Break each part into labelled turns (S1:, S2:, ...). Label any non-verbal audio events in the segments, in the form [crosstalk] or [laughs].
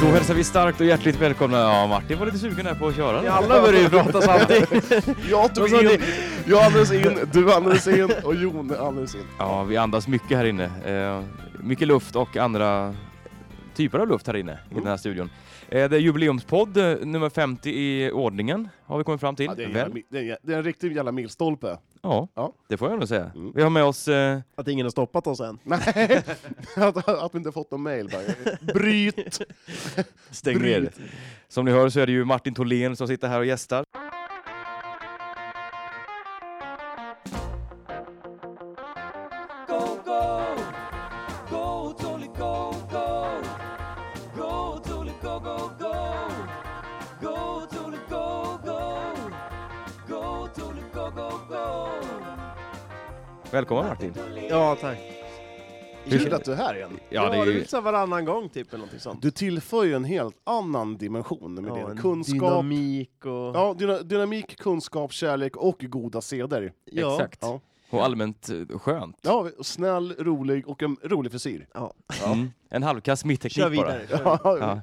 S1: Då hälsar vi starkt och hjärtligt välkomna. Ja, Martin var lite sugen här på att köra.
S2: Alla börjar ju prata samtidigt.
S3: Jag
S2: Vad
S3: tog
S2: sa
S3: in,
S2: ni?
S3: jag andades in, du andades in och Jon andades in.
S1: [laughs] Ja, vi andas mycket här inne. Eh, mycket luft och andra typer av luft här inne i den här studion. Eh, det är jubileumspodd eh, nummer 50 i ordningen har vi kommit fram till.
S3: Ja, det, är en
S1: Väl?
S3: jävla, mi- det, är, en jä- det är en riktig jävla milstolpe. [laughs]
S1: ja,
S3: Ja.
S1: det får jag nog säga.
S3: Mm.
S1: Vi har med oss eh,
S2: Att ingen har stoppat oss än.
S3: Nej, att, att vi inte fått någon mail bara. Bryt!
S1: Stäng ner.
S3: Bryt.
S1: Som ni hör så är det ju Martin Tholén som sitter här och gästar. Välkommen Martin!
S2: Ja, tack.
S3: Kul att du är här igen.
S1: Ja, det är ju...
S2: väl så här varannan gång typ eller någonting sånt.
S3: Du tillför ju en helt annan dimension med
S2: Ja, en
S3: din kunskap.
S2: Dynamik och...
S3: Ja, dyna- dynamik, kunskap, kärlek och goda seder.
S2: Ja.
S1: Exakt.
S3: Ja.
S1: Och allmänt eh, skönt.
S3: Ja, snäll, rolig och en rolig frisyr.
S2: Ja.
S1: Mm. En halvkass mittteknik
S2: Kör
S1: bara.
S2: vidare. Kör.
S3: Ja.
S1: Ja.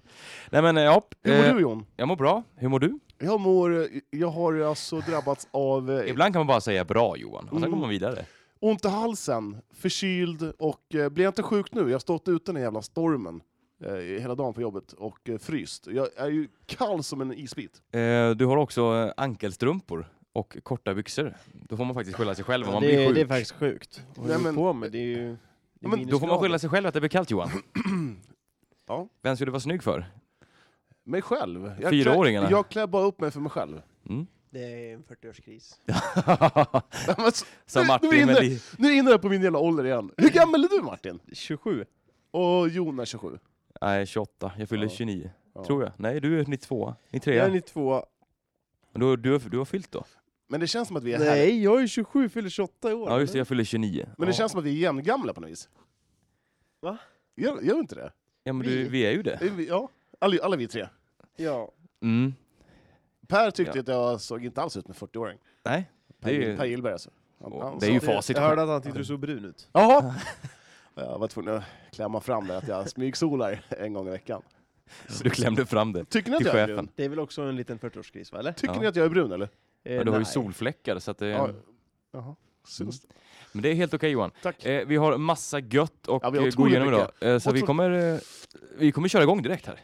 S1: Nej men eh, ja,
S3: [laughs] Hur mår
S1: eh,
S3: du Jon?
S1: jag mår bra. Hur mår du?
S3: Jag mår, eh, jag har alltså drabbats av eh,
S1: Ibland kan man bara säga bra Johan, och sen
S3: Mm.
S1: kommer man vidare.
S3: ont i halsen, förkyld och eh, blir jag inte sjuk nu. Jag har stått ute i den här jävla stormen eh, hela dagen på jobbet och eh, fryst. Jag är ju kall som en isbit.
S1: Eh, du har också eh, ankelstrumpor och korta byxor. Då får man faktiskt skylla sig själv om man
S2: det,
S1: blir
S2: är,
S1: sjuk.
S2: det är faktiskt sjukt. Vad
S3: Nej,
S2: håller du
S3: men-
S2: på med? Det är ju... det är
S3: men då får man
S1: Då får
S2: minusgrader.
S1: man skylla sig själv att det blir kallt Johan.
S3: Ja.
S1: Vem skulle du vara snygg för?
S3: Mig själv. Jag
S1: Fyraåringarna.
S3: Klär, jag klär bara upp mig för mig själv. [laughs]
S1: Mm.
S2: Det är en 40-årskris.
S3: Nej, men s-
S1: Som
S3: Nu-
S1: Martin
S3: nu är
S1: med
S3: det-
S1: li-
S3: nu är jag inne på min jävla ålder igen. Hur gammal är du Martin?
S2: 27.
S3: Och Jon är 27.
S1: Nej, 28. Jag fyller
S3: Ja.
S1: 29.
S3: Ja.
S1: Tror jag. Nej, du är 92. 93.
S2: Jag är 92.
S1: Men Du, du, du har fyllt då?
S3: Men det känns som att vi är här.
S2: Nej, jag är 27, fyller 28 i år.
S1: Ja just det, jag fyller 29.
S3: Men det känns som att vi är jämngamla på något vis.
S2: Va?
S3: Gör, gör vi inte det?
S1: Ja men du,
S2: vi-
S1: vi är ju det.
S3: Är vi- Ja, alla, alla vi tre.
S2: Ja.
S1: Mm.
S3: Per tyckte
S1: Ja.
S3: att jag såg inte alls ut med 40-åring.
S1: Nej.
S3: Per,
S1: Det är ju-
S3: per Gillberg alltså. Han-
S1: Åh,
S3: han
S1: det är
S3: sa-
S1: ju facit.
S2: Jag hörde att han tyckte du såg brun ut.
S3: Jaha! Jag var tvungen att klämma fram det, att jag smygsolar [laughs] en gång i veckan.
S1: Så [laughs] du klämde fram det.
S3: Tycker ni att
S1: Till
S3: jag är
S1: chefen.
S3: brun?
S2: Det är väl också en liten 40-årskris, va? Eller?
S3: Tycker
S1: Ja. Mm.
S3: ni att jag är brun eller?
S2: Eh,
S1: Ja, du har ju
S2: nej.
S1: solfläckar så att det...
S3: Ja. Jaha. Syns det?
S1: Men det är helt okej Johan.
S3: Tack.
S1: Eh, vi har massa gött och
S3: Ja, vi har
S1: eh, gå
S3: otroligt
S1: igenom idag. Eh, så vi
S3: Otroligt.
S1: kommer, eh, vi kommer köra igång direkt här.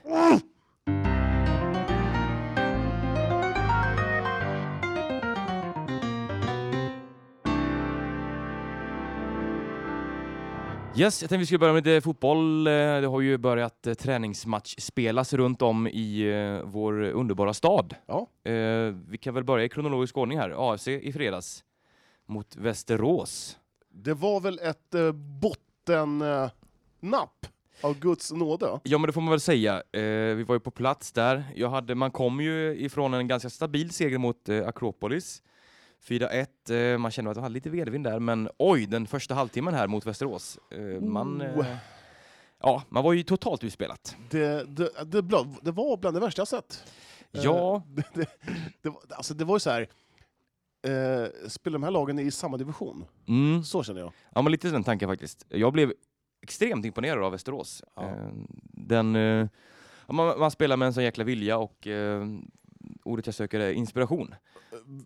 S1: Yes, jag tänkte vi skulle börja med lite fotboll. Eh, Det har ju börjat eh, träningsmatch spelas runt om i eh, vår underbara stad.
S3: Ja.
S1: Eh, vi kan väl börja i kronologisk ordning här. AFC i fredags mot Västerås.
S3: Det var väl ett eh, bottennapp av Guds nåde?
S1: Ja men det får man väl säga. Eh, vi var ju på plats där. Jag hade, man kom ju ifrån en ganska stabil seger mot eh, Akropolis. 4-1. Eh, man kände att man hade lite vedvind där men oj, den första halvtimmen här mot Västerås. Eh, man, eh,
S3: Oh.
S1: ja, man var ju totalt utspelat.
S3: Det, det, det, bla- det var bland det värsta jag sett. Eh,
S1: Ja,
S3: [laughs] Det, det, det, var- alltså det var ju så här. Eh, spelar de här lagen i samma division?
S1: mm.
S3: Så känner jag.
S1: ja men lite den tanken faktiskt. Jag blev extremt imponerad av Västerås.
S3: Ja.
S1: Eh, den, eh, ja, man, man spelar med en sån jäkla vilja och eh, ordet jag söker är inspiration.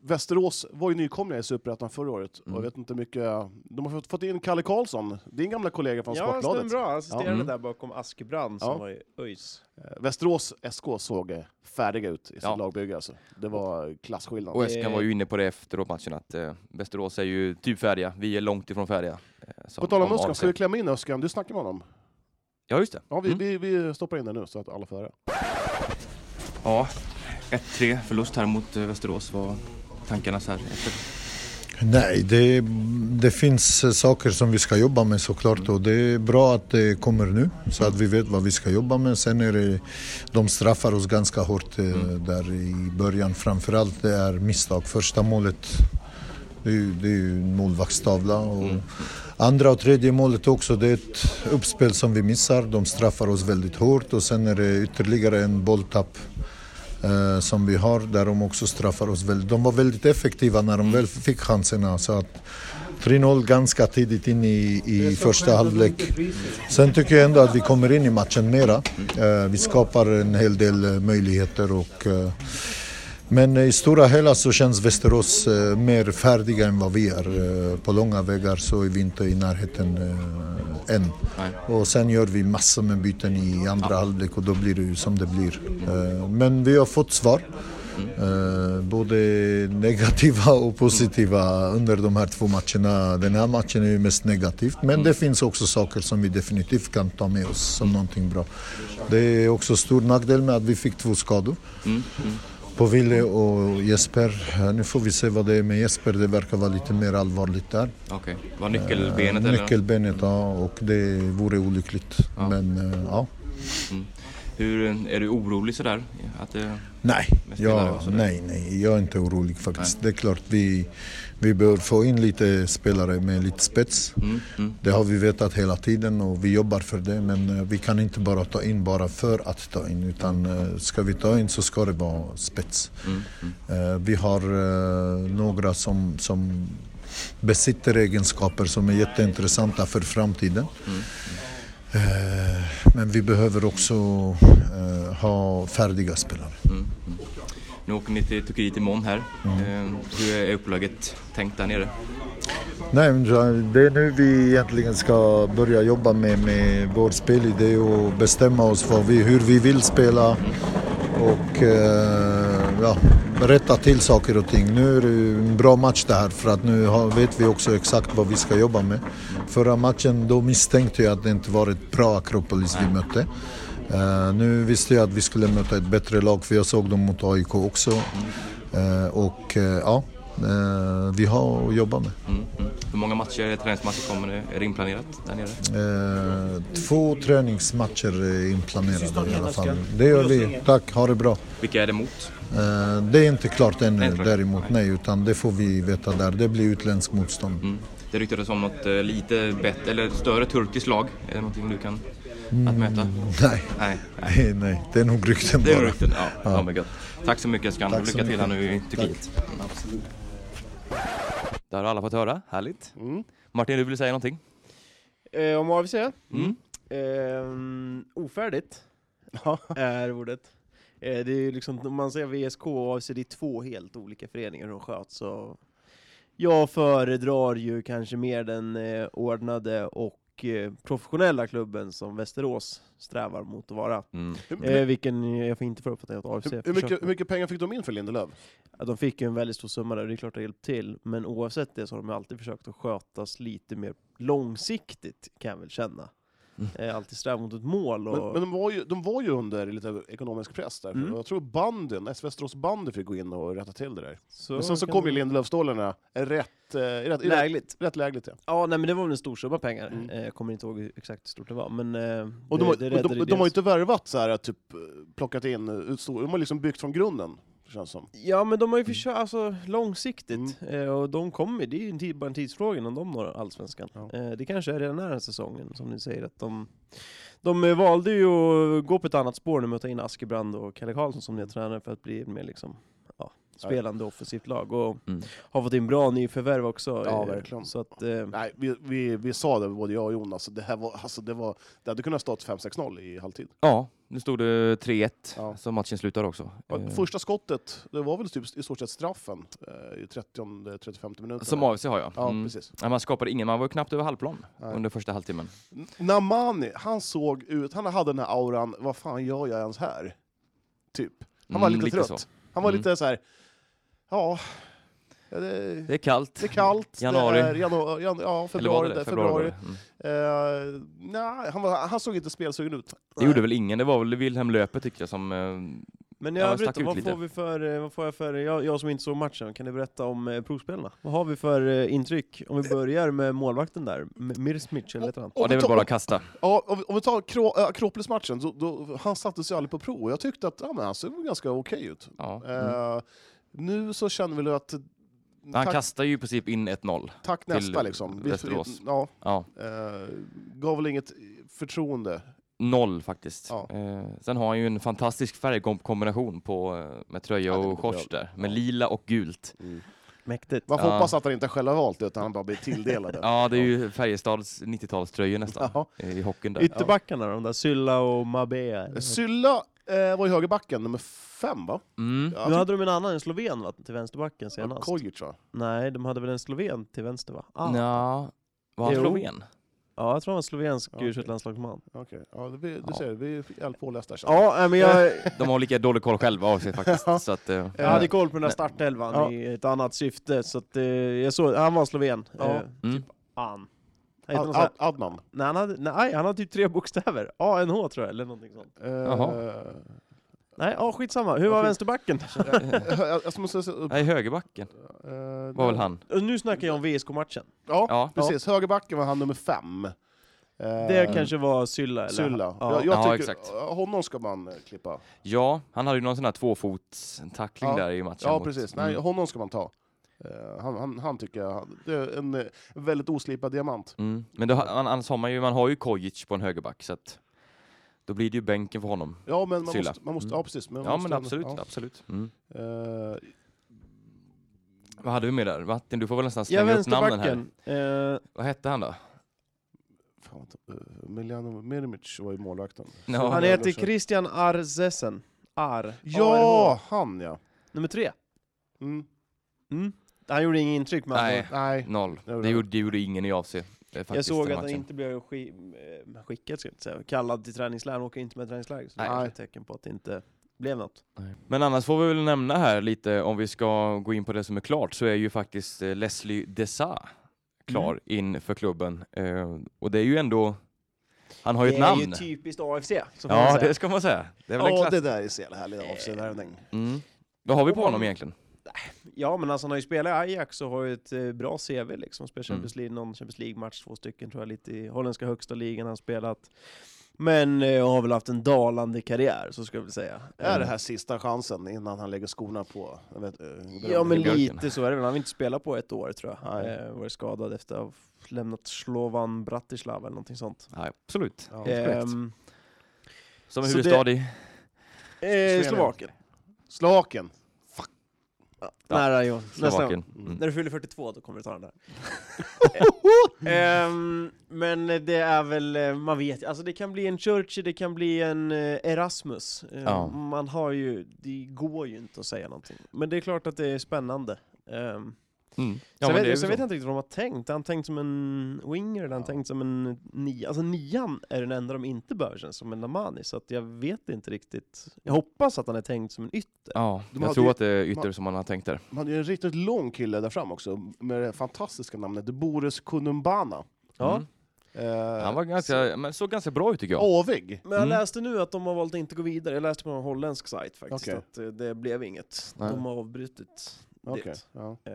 S3: Västerås var ju nykomlingar i Superettan förra året,
S1: Mm.
S3: och jag vet inte hur mycket... De har fått- fått in Kalle Karlsson, din gamla kollega från
S2: Ja,
S3: Sportbladet.
S2: stämmer bra. Han assisterade
S1: Mm.
S2: där bakom Askebrand som
S3: Ja.
S2: var i ÖIS.
S3: Eh, Västerås SK såg eh, färdiga ut i sitt
S1: Ja.
S3: lagbygge alltså. Det var klasskillnad.
S1: Och Eskan
S2: Eh.
S1: var ju inne på det efteråt matchen att eh, Västerås är ju typ färdiga, vi är långt ifrån färdiga. Eh, som-
S3: På tal om
S1: AFC.
S3: Öskan, ska vi klämma in Öskan? Du snackade med honom.
S1: Ja just det.
S3: Ja, vi,
S1: Mm.
S3: vi, vi stoppar in det nu så att alla får höra.
S1: Ja, 1-3 förlust här mot eh, Västerås var tankarna så här efter.
S4: Nej, det, det finns eh, saker som vi ska jobba med såklart och det är bra att det kommer nu så att vi vet vad vi ska jobba med. Sen är det, de straffar oss ganska hårt eh, där i början. Framförallt det är misstag. Första målet, det är ju, det är ju en målvaktstavla. Och Andra och tredje målet också, det är ett uppspel som vi missar. De straffar oss väldigt hårt och sen är det ytterligare en bolltapp eh, som vi har där de också straffar oss väldigt. De var väldigt effektiva när de väl fick chanserna. Så att 3-0 ganska tidigt in i, i första halvlek. Sen tycker jag ändå att vi kommer in i matchen mera. Eh, Vi skapar en hel del eh, möjligheter och eh, men i stora hela så känns Västerås eh, mer färdiga än vad vi är. Eh, På långa vägar så är vi inte i närheten eh, än. Och sen gör vi massor med byten i andra halvlek och då blir det ju som det blir. Eh, Men vi har fått svar. Eh, Både negativa och positiva under de här två matcherna. Den här matchen är ju mest negativt men det finns också saker som vi definitivt kan ta med oss som någonting bra. Det är också stor nackdel med att vi fick två skador på Ville och Jesper. Eh, Nu får vi se vad det är med Jesper. Det verkar vara lite mer allvarligt där.
S1: Okej. Var nyckelbenet
S4: Eh,
S1: eller?
S4: Nyckelbenet, ja. Och det vore olyckligt.
S1: Ja.
S4: Men eh, ja.
S1: Hur, eh, är du orolig sådär? Att eh, det...
S4: Nej,
S1: Med spelare
S4: jag,
S1: och sådär.
S4: nej, nej, jag är inte orolig faktiskt. Det är klart vi, vi behöver få in lite spelare med lite spets.
S1: Mm, mm.
S4: Det har vi vetat hela tiden och vi jobbar för det men eh, vi kan inte bara ta in bara för att ta in utan eh, ska vi ta in så ska det vara spets.
S1: Mm, mm.
S4: Eh, Vi har eh, några som, som besitter egenskaper som är jätteintressanta för framtiden.
S1: Mm,
S4: Eh, Men vi behöver också eh, ha färdiga spelare.
S1: Mm. Mm. Nu åker ni till Turkiet imorgon här. Eh, hur är upplägget tänkt där nere?
S4: Nej, men det är nu vi egentligen ska börja jobba med, med vår spelidé och bestämma oss för vi, hur vi vill spela och eh, ja, rätta till saker och ting. Nu är det ju en bra match det här för att nu har, vet vi också exakt vad vi ska jobba med. Förra matchen då misstänkte jag att det inte var ett bra Akropolis vi mötte. Eh, nu visste jag att vi skulle möta ett bättre lag för jag såg dem mot AIK också. Eh, och eh, ja, eh, vi har att jobba med.
S1: Mm, mm. Hur många matcher, träningsmatcher kommer det? Är det inplanerat där nere?
S4: Eh, två träningsmatcher är inplanerade i alla fall. Det gör vi. Tack, ha det bra.
S1: Vilka är det mot?
S4: Eh, det är inte klart
S1: Det är
S4: ännu
S1: inte klart.
S4: däremot, nej, utan det får vi veta där. Det blir utländskt motstånd.
S1: Mm. Det ryktades om något eh, lite bättre, eller större turkiskt lag. Är det någonting du kan att mäta?
S4: Nej, [laughs]
S1: Nej, Mm. nej.
S4: nej, nej, det är nog rykten
S1: Det är
S4: bara.
S1: rykten. Ja, ja. men gött. Tack så mycket Skan.
S4: Tack
S1: Lycka
S4: så
S1: till här
S4: mycket.
S1: nu i Turkiet. Där har alla fått höra. Härligt.
S2: Mm.
S1: Martin, du ville säga någonting?
S2: Eh, om AFC?
S1: Mm.
S2: Ehm, ofärdigt
S3: Ja.
S2: är ordet. Eh, det är ju liksom, om man säger VSK och AFC, det är två helt olika föreningar som sköts. Så jag föredrar ju kanske mer den eh, ordnade och eh, professionella klubben som Västerås strävar mot att vara.
S1: Mm.
S2: Eh, vilken jag får inte för uppfattningen att AFC
S3: Hur, hur, mycket,
S2: försöker-
S3: hur mycket pengar fick de in för Lindelöf?
S2: att de fick ju en väldigt stor summa där, och det är klart det har hjälpt till. Men oavsett det så har de ju alltid försökt att skötas lite mer långsiktigt, kan jag väl känna.
S1: Mm.
S2: Eh, alltid sträva mot ett mål. Och...
S3: Men, men de, var ju, de var ju under lite ekonomisk press där.
S2: Mm.
S3: Jag tror banden, S Västerås bandy fick gå in och rätta till det där.
S2: så
S3: Men sen så
S2: kan
S3: kom ju
S2: det-
S3: Lindelöf-stålarna rätt, eh, i rätt, i rätt,
S2: Lägligt.
S3: rätt lägligt. Ja.
S2: Ja, nej men det var väl en stor summa pengar.
S3: Mm.
S2: Eh, jag kommer inte ihåg exakt hur stort det var, men eh,
S3: Och
S2: det,
S3: de, har,
S2: det
S3: de,
S2: räddade
S3: de,
S2: ju
S3: de har ju
S2: deras-
S3: inte värvat så här, typ eh, plockat in, eh, utstå- de har liksom byggt från grunden. Känns som.
S1: Mm.
S2: Ja, men de har ju
S3: Mm.
S2: försökt, alltså långsiktigt. Eh, och de kommer, det är ju en tid, bara en tidsfråga innan de når Allsvenskan.
S3: Ja.
S2: Eh, det kanske är redan den här säsongen, som ni säger, att de... De eh, valde ju att gå på ett annat spår nu, med att ta in Askebrand och Kalle Karlsson som nya
S3: Mm.
S2: tränare för att bli mer liksom, ja, spelande offensivt lag. Och
S1: Mm.
S2: har fått in bra nyförvärv också.
S3: Ja,
S2: eh,
S3: verkligen.
S2: Så att, eh,
S3: Nej, vi, vi, vi sa det, både jag och Jonas, det, här var, alltså, det, var, det hade kunnat stått 5-6-0 i halvtid.
S1: Ja, nu stod det 3-1
S3: Ja.
S1: så matchen slutar också.
S3: Och
S1: Eh,
S3: Första skottet, det var väl typ i stort sett straffen eh, i 30-35 minuter.
S1: Som AFC har jag.
S3: Ja,
S1: Mm.
S3: precis.
S1: Ja, Man skapade ingen, man var ju knappt över halvplan
S3: Nej.
S1: under första halvtimmen.
S3: N- Namani, han såg ut, han hade den här auran, vad fan gör jag ens här? Typ. Han var
S1: Mm,
S3: lite
S1: lite
S3: trött.
S1: så.
S3: Han var
S1: Mm.
S3: lite så här. ja, ja, det,
S1: Det är kallt.
S3: det är kallt,
S1: Januari.
S3: det är januari, janu eh, ja,
S1: Eller var
S3: februari.
S1: det det?
S3: februari.
S1: var det. Mm.
S3: Eh, nej, han, var, han såg inte spelsugen ut.
S1: Det gjorde väl ingen, det var väl Wilhelm Löpe tyckte jag som... Eh,
S2: men i
S1: Ja,
S2: övrigt
S1: stack
S2: då,
S1: ut
S2: vad
S1: lite.
S2: får vi för, eh, vad får jag för, jag, jag som inte såg matchen, kan du berätta om eh, provspelarna? Vad har vi för eh, intryck? Om vi börjar med målvakten där, M- Mirsmic, eller heter han?
S1: ja, det är väl bara att kasta.
S3: Ja, om, vi- om vi tar Kro- äh, Akropolis-matchen, då, då, han sattes ju aldrig på prov och jag tyckte att ja, men han såg ganska okej ut.
S1: Ja. Mm.
S3: Eh, nu så känner vi väl att
S1: Han
S3: tack,
S1: kastar ju i princip in 1-0.
S3: tack
S1: till
S3: nästa liksom. Vi,
S1: Västerås.
S3: ja,
S1: Ja.
S3: eh, gav väl inget förtroende.
S1: Noll faktiskt.
S3: Ja.
S1: Eh, sen har han ju en fantastisk färgkombination på, eh, med tröja
S3: Ja, det är
S1: och
S3: lite
S1: shorts
S3: bra.
S1: där. Med
S3: Ja.
S1: lila och gult.
S2: Mäktigt.
S3: Man får
S1: Mm. Ja.
S3: hoppas att han inte själv har valt det, utan han bara blir tilldelad den.
S1: [laughs] Ja, det är ju Färjestads 90-talströjor nästan,
S3: Ja.
S1: eh, i hockeyn där.
S2: Ytterbackarna de där, Sylla och Mabea.
S3: Sylla eh, var ju högerbacken, nummer fem va?
S1: Mm.
S3: Ja,
S2: Nu
S3: jag
S2: hade de en annan, en sloven va, till vänsterbacken
S3: tyckte-
S2: senast?
S3: Kojic va?
S2: Nej, de hade väl en sloven till vänster va? Ah.
S1: Ja, var han
S2: Jo.
S1: sloven?
S2: Ja, jag tror han var slovensk
S3: Ja, okej.
S2: U21-landslagsman.
S3: Okej, ja, det- vi- du
S1: Ja.
S3: ser, vi fick all pålästa. känner jag. Eh,
S2: Ja, äh, men jag,
S1: De har lika dålig koll själva av
S3: [laughs]
S1: sig faktiskt. Så att, eh,
S2: jag hade koll på den där startelvan
S3: Ja.
S2: i ett annat syfte, så att, eh, jag såg, han var sloven.
S3: Ja.
S2: Eh,
S1: mm.
S3: typ.
S2: han. Han heter
S3: Ad,
S2: något så här-
S3: Ad, Adnan.
S2: Nej, han hade, nej, han hade typ tre bokstäver. ANH tror jag, eller någonting sånt.
S3: Eh,
S1: Jaha.
S2: Nej, ja, skitsamma. Hur var
S3: Okej.
S2: vänsterbacken?
S3: jag, jag måste se upp.
S1: Nej, högerbacken
S3: eh,
S1: var väl han.
S2: Och Nu snackar jag om VSK-matchen.
S3: Ja,
S1: Ja.
S3: precis. Högerbacken var han nummer fem. Eh,
S2: Det kanske var Sylla, eller?
S3: Sylla.
S2: Ja.
S3: Jag, jag
S1: Ja,
S3: tycker,
S1: exakt.
S3: Honom ska man eh, klippa.
S1: Ja, han hade ju någon sån här tvåfotstackling
S3: Ja.
S1: där i matchen.
S3: Ja,
S1: mot-
S3: precis. Nej,
S1: Mm.
S3: honom ska man ta. Eh, han, han, han tycker jag, han- det är en eh, väldigt oslipad diamant.
S1: Mm. Men då, han, annars har man ju, man har ju Kojic på en högerback, så att då blir det ju bänken för honom.
S3: Ja, men man
S1: Sylla.
S3: måste, man måste...
S1: Mm.
S3: Ja, precis. Men man
S1: Ja,
S3: måste
S1: men
S3: ändå-
S1: absolut,
S3: ja.
S1: absolut. Mm.
S3: Eh,
S1: Vad hade vi med där? Martin, du får väl nästan
S2: Ja,
S1: slänga upp namnen här.
S2: vänsterbacken. Eh,
S1: Vad hette han då?
S3: Fan, vad- eh, Miljano Mirmic var ju målvakten.
S1: Ja.
S2: han
S3: är
S2: heter Christian Arzesen. Ar. ARH.
S3: Ja, han ja!
S2: Nummer tre.
S3: Mm.
S2: Mm. Han gjorde inget intryck med
S1: Nej,
S3: Nej.
S1: noll.
S3: Det var
S1: Mm. Det
S3: det.
S1: gjorde, det gjorde ingen i AFC. eh, Faktiskt,
S2: Jag såg
S1: den
S2: att han
S1: matchen.
S2: inte blev ski, eh, skickad, ska jag inte säga. kallad till träningsläger. Han åker inte med träningsläger. Så det
S3: Nej.
S2: är ett tecken på att det inte blev något.
S1: Men annars får vi väl nämna här lite, om vi ska gå in på det som är klart, så är ju faktiskt eh, Leslie Desa klar
S2: Mm.
S1: in för klubben. Eh, och det är ju ändå, han har ju
S2: det
S1: ett
S2: är
S1: namn.
S2: ju typiskt AFC. Så får man
S1: ja,
S2: säga.
S1: det ska man säga. Det är väl en
S3: Ja,
S1: klass. Eh,
S3: det där är så jävla härligt avsevärvning.
S1: Mm. Vad har vi på honom egentligen?
S2: Ja, men alltså han har ju spelat i Ajax och har ju ett eh, bra CV liksom. Spelat
S1: Mm.
S2: Champions League, någon Champions League-match, två stycken tror jag, lite i holländska högsta ligan han spelat. Men eh, har väl haft en dalande karriär, så ska jag väl säga. Eh,
S3: Är det här sista chansen innan han lägger skorna på? Jag vet, eh,
S2: Ja,
S3: grön-
S2: men
S1: Björken.
S2: lite så är det väl. Han har inte spelat på ett år tror jag.
S3: Nej.
S2: Eh, varit skadad efter att ha lämnat Slovan Bratislava eller någonting sånt.
S1: Nej, absolut.
S3: Ja.
S1: korrekt.
S2: Ehm,
S1: Som
S2: Så
S1: huvudstad i...
S2: eh, Slovakien.
S3: Slaken!
S1: Ja.
S2: Nära Johan. Nästa gång.
S1: Slovakien. Mm.
S2: När du fyller 42 då kommer du ta
S1: [laughs]
S2: den där. Ehm, men det är väl, eh, man vet alltså det kan bli en Churchill, det kan bli en eh, Erasmus. Ehm,
S1: Ja.
S2: Man har ju, det går ju inte att säga någonting. Men det är klart att det är spännande. Ehm,
S1: Mm.
S2: Ja, sen
S1: Ja, men
S2: vet,
S1: det är
S2: sen
S1: ju
S2: vet jag
S1: så.
S2: inte riktigt vad de har tänkt. Har Han tänkt som en winger, eller han
S3: Ja.
S2: tänkt som en nia. Alltså nian är den enda de inte behöver känns som, en Namani. Så att jag vet inte riktigt. Jag hoppas att han är tänkt som en ytter.
S1: Ja,
S3: De
S1: jag
S3: hade
S1: tror
S3: ju-
S1: att det är ytter som man har tänkt där.
S3: Man hade ju en riktigt lång kille där fram också, med det fantastiska namnet Boris Kunumbana.
S2: Ja.
S1: Mm.
S3: Eh,
S1: Han var ganska, men såg ganska bra ut tycker jag.
S3: avig.
S2: Men jag
S1: Mm.
S2: läste nu att de har valt att inte gå vidare. Jag läste på en holländsk sajt faktiskt
S3: Okej.
S2: att eh, det blev inget.
S1: Nej.
S2: De har avbrutit
S3: Okej,
S2: det.
S3: ja.
S2: Eh,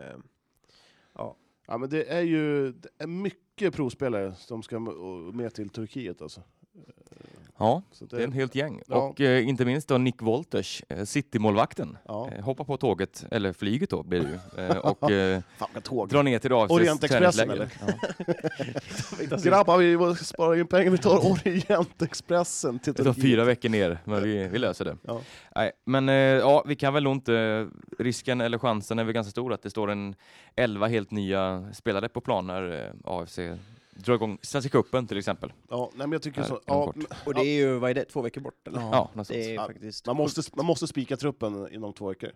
S3: ja, men det är ju det är mycket provspelare som ska m- och med till Turkiet alltså.
S1: Ja,
S3: Så
S1: det är en helt gäng.
S3: Ja.
S1: Och eh, inte minst då Nick Wolters, eh, Citymålvakten.
S3: ja.
S1: Eh, hoppa på tåget, eller flyget då blir det
S2: [laughs]
S1: ju, eh, och eh,
S3: Fan vilka tåg.
S1: dra ner till AFCs
S3: Orientexpressen,
S1: träningsläger.
S3: Grabbar, vi måste spara in pengar, vi tar Orientexpressen till
S1: Det tar
S3: Turkiet.
S1: fyra veckor ner, men vi, vi löser det.
S3: Ja.
S1: Nej, men eh, ja, vi kan väl nog inte, risken eller chansen är väl ganska stor att det står en 11 helt nya spelare på plan när eh, AFC drar igång Svenska cupen till exempel.
S3: Ja, nej, men jag tycker
S1: Här,
S3: så.
S1: inom
S3: Ja,
S1: kort.
S2: och det är ju, vad är det, två veckor bort eller?
S3: Ja.
S1: Ja, någonstans.
S2: Det är
S3: Ja.
S2: faktiskt...
S3: man, måste, man måste spika truppen inom två veckor.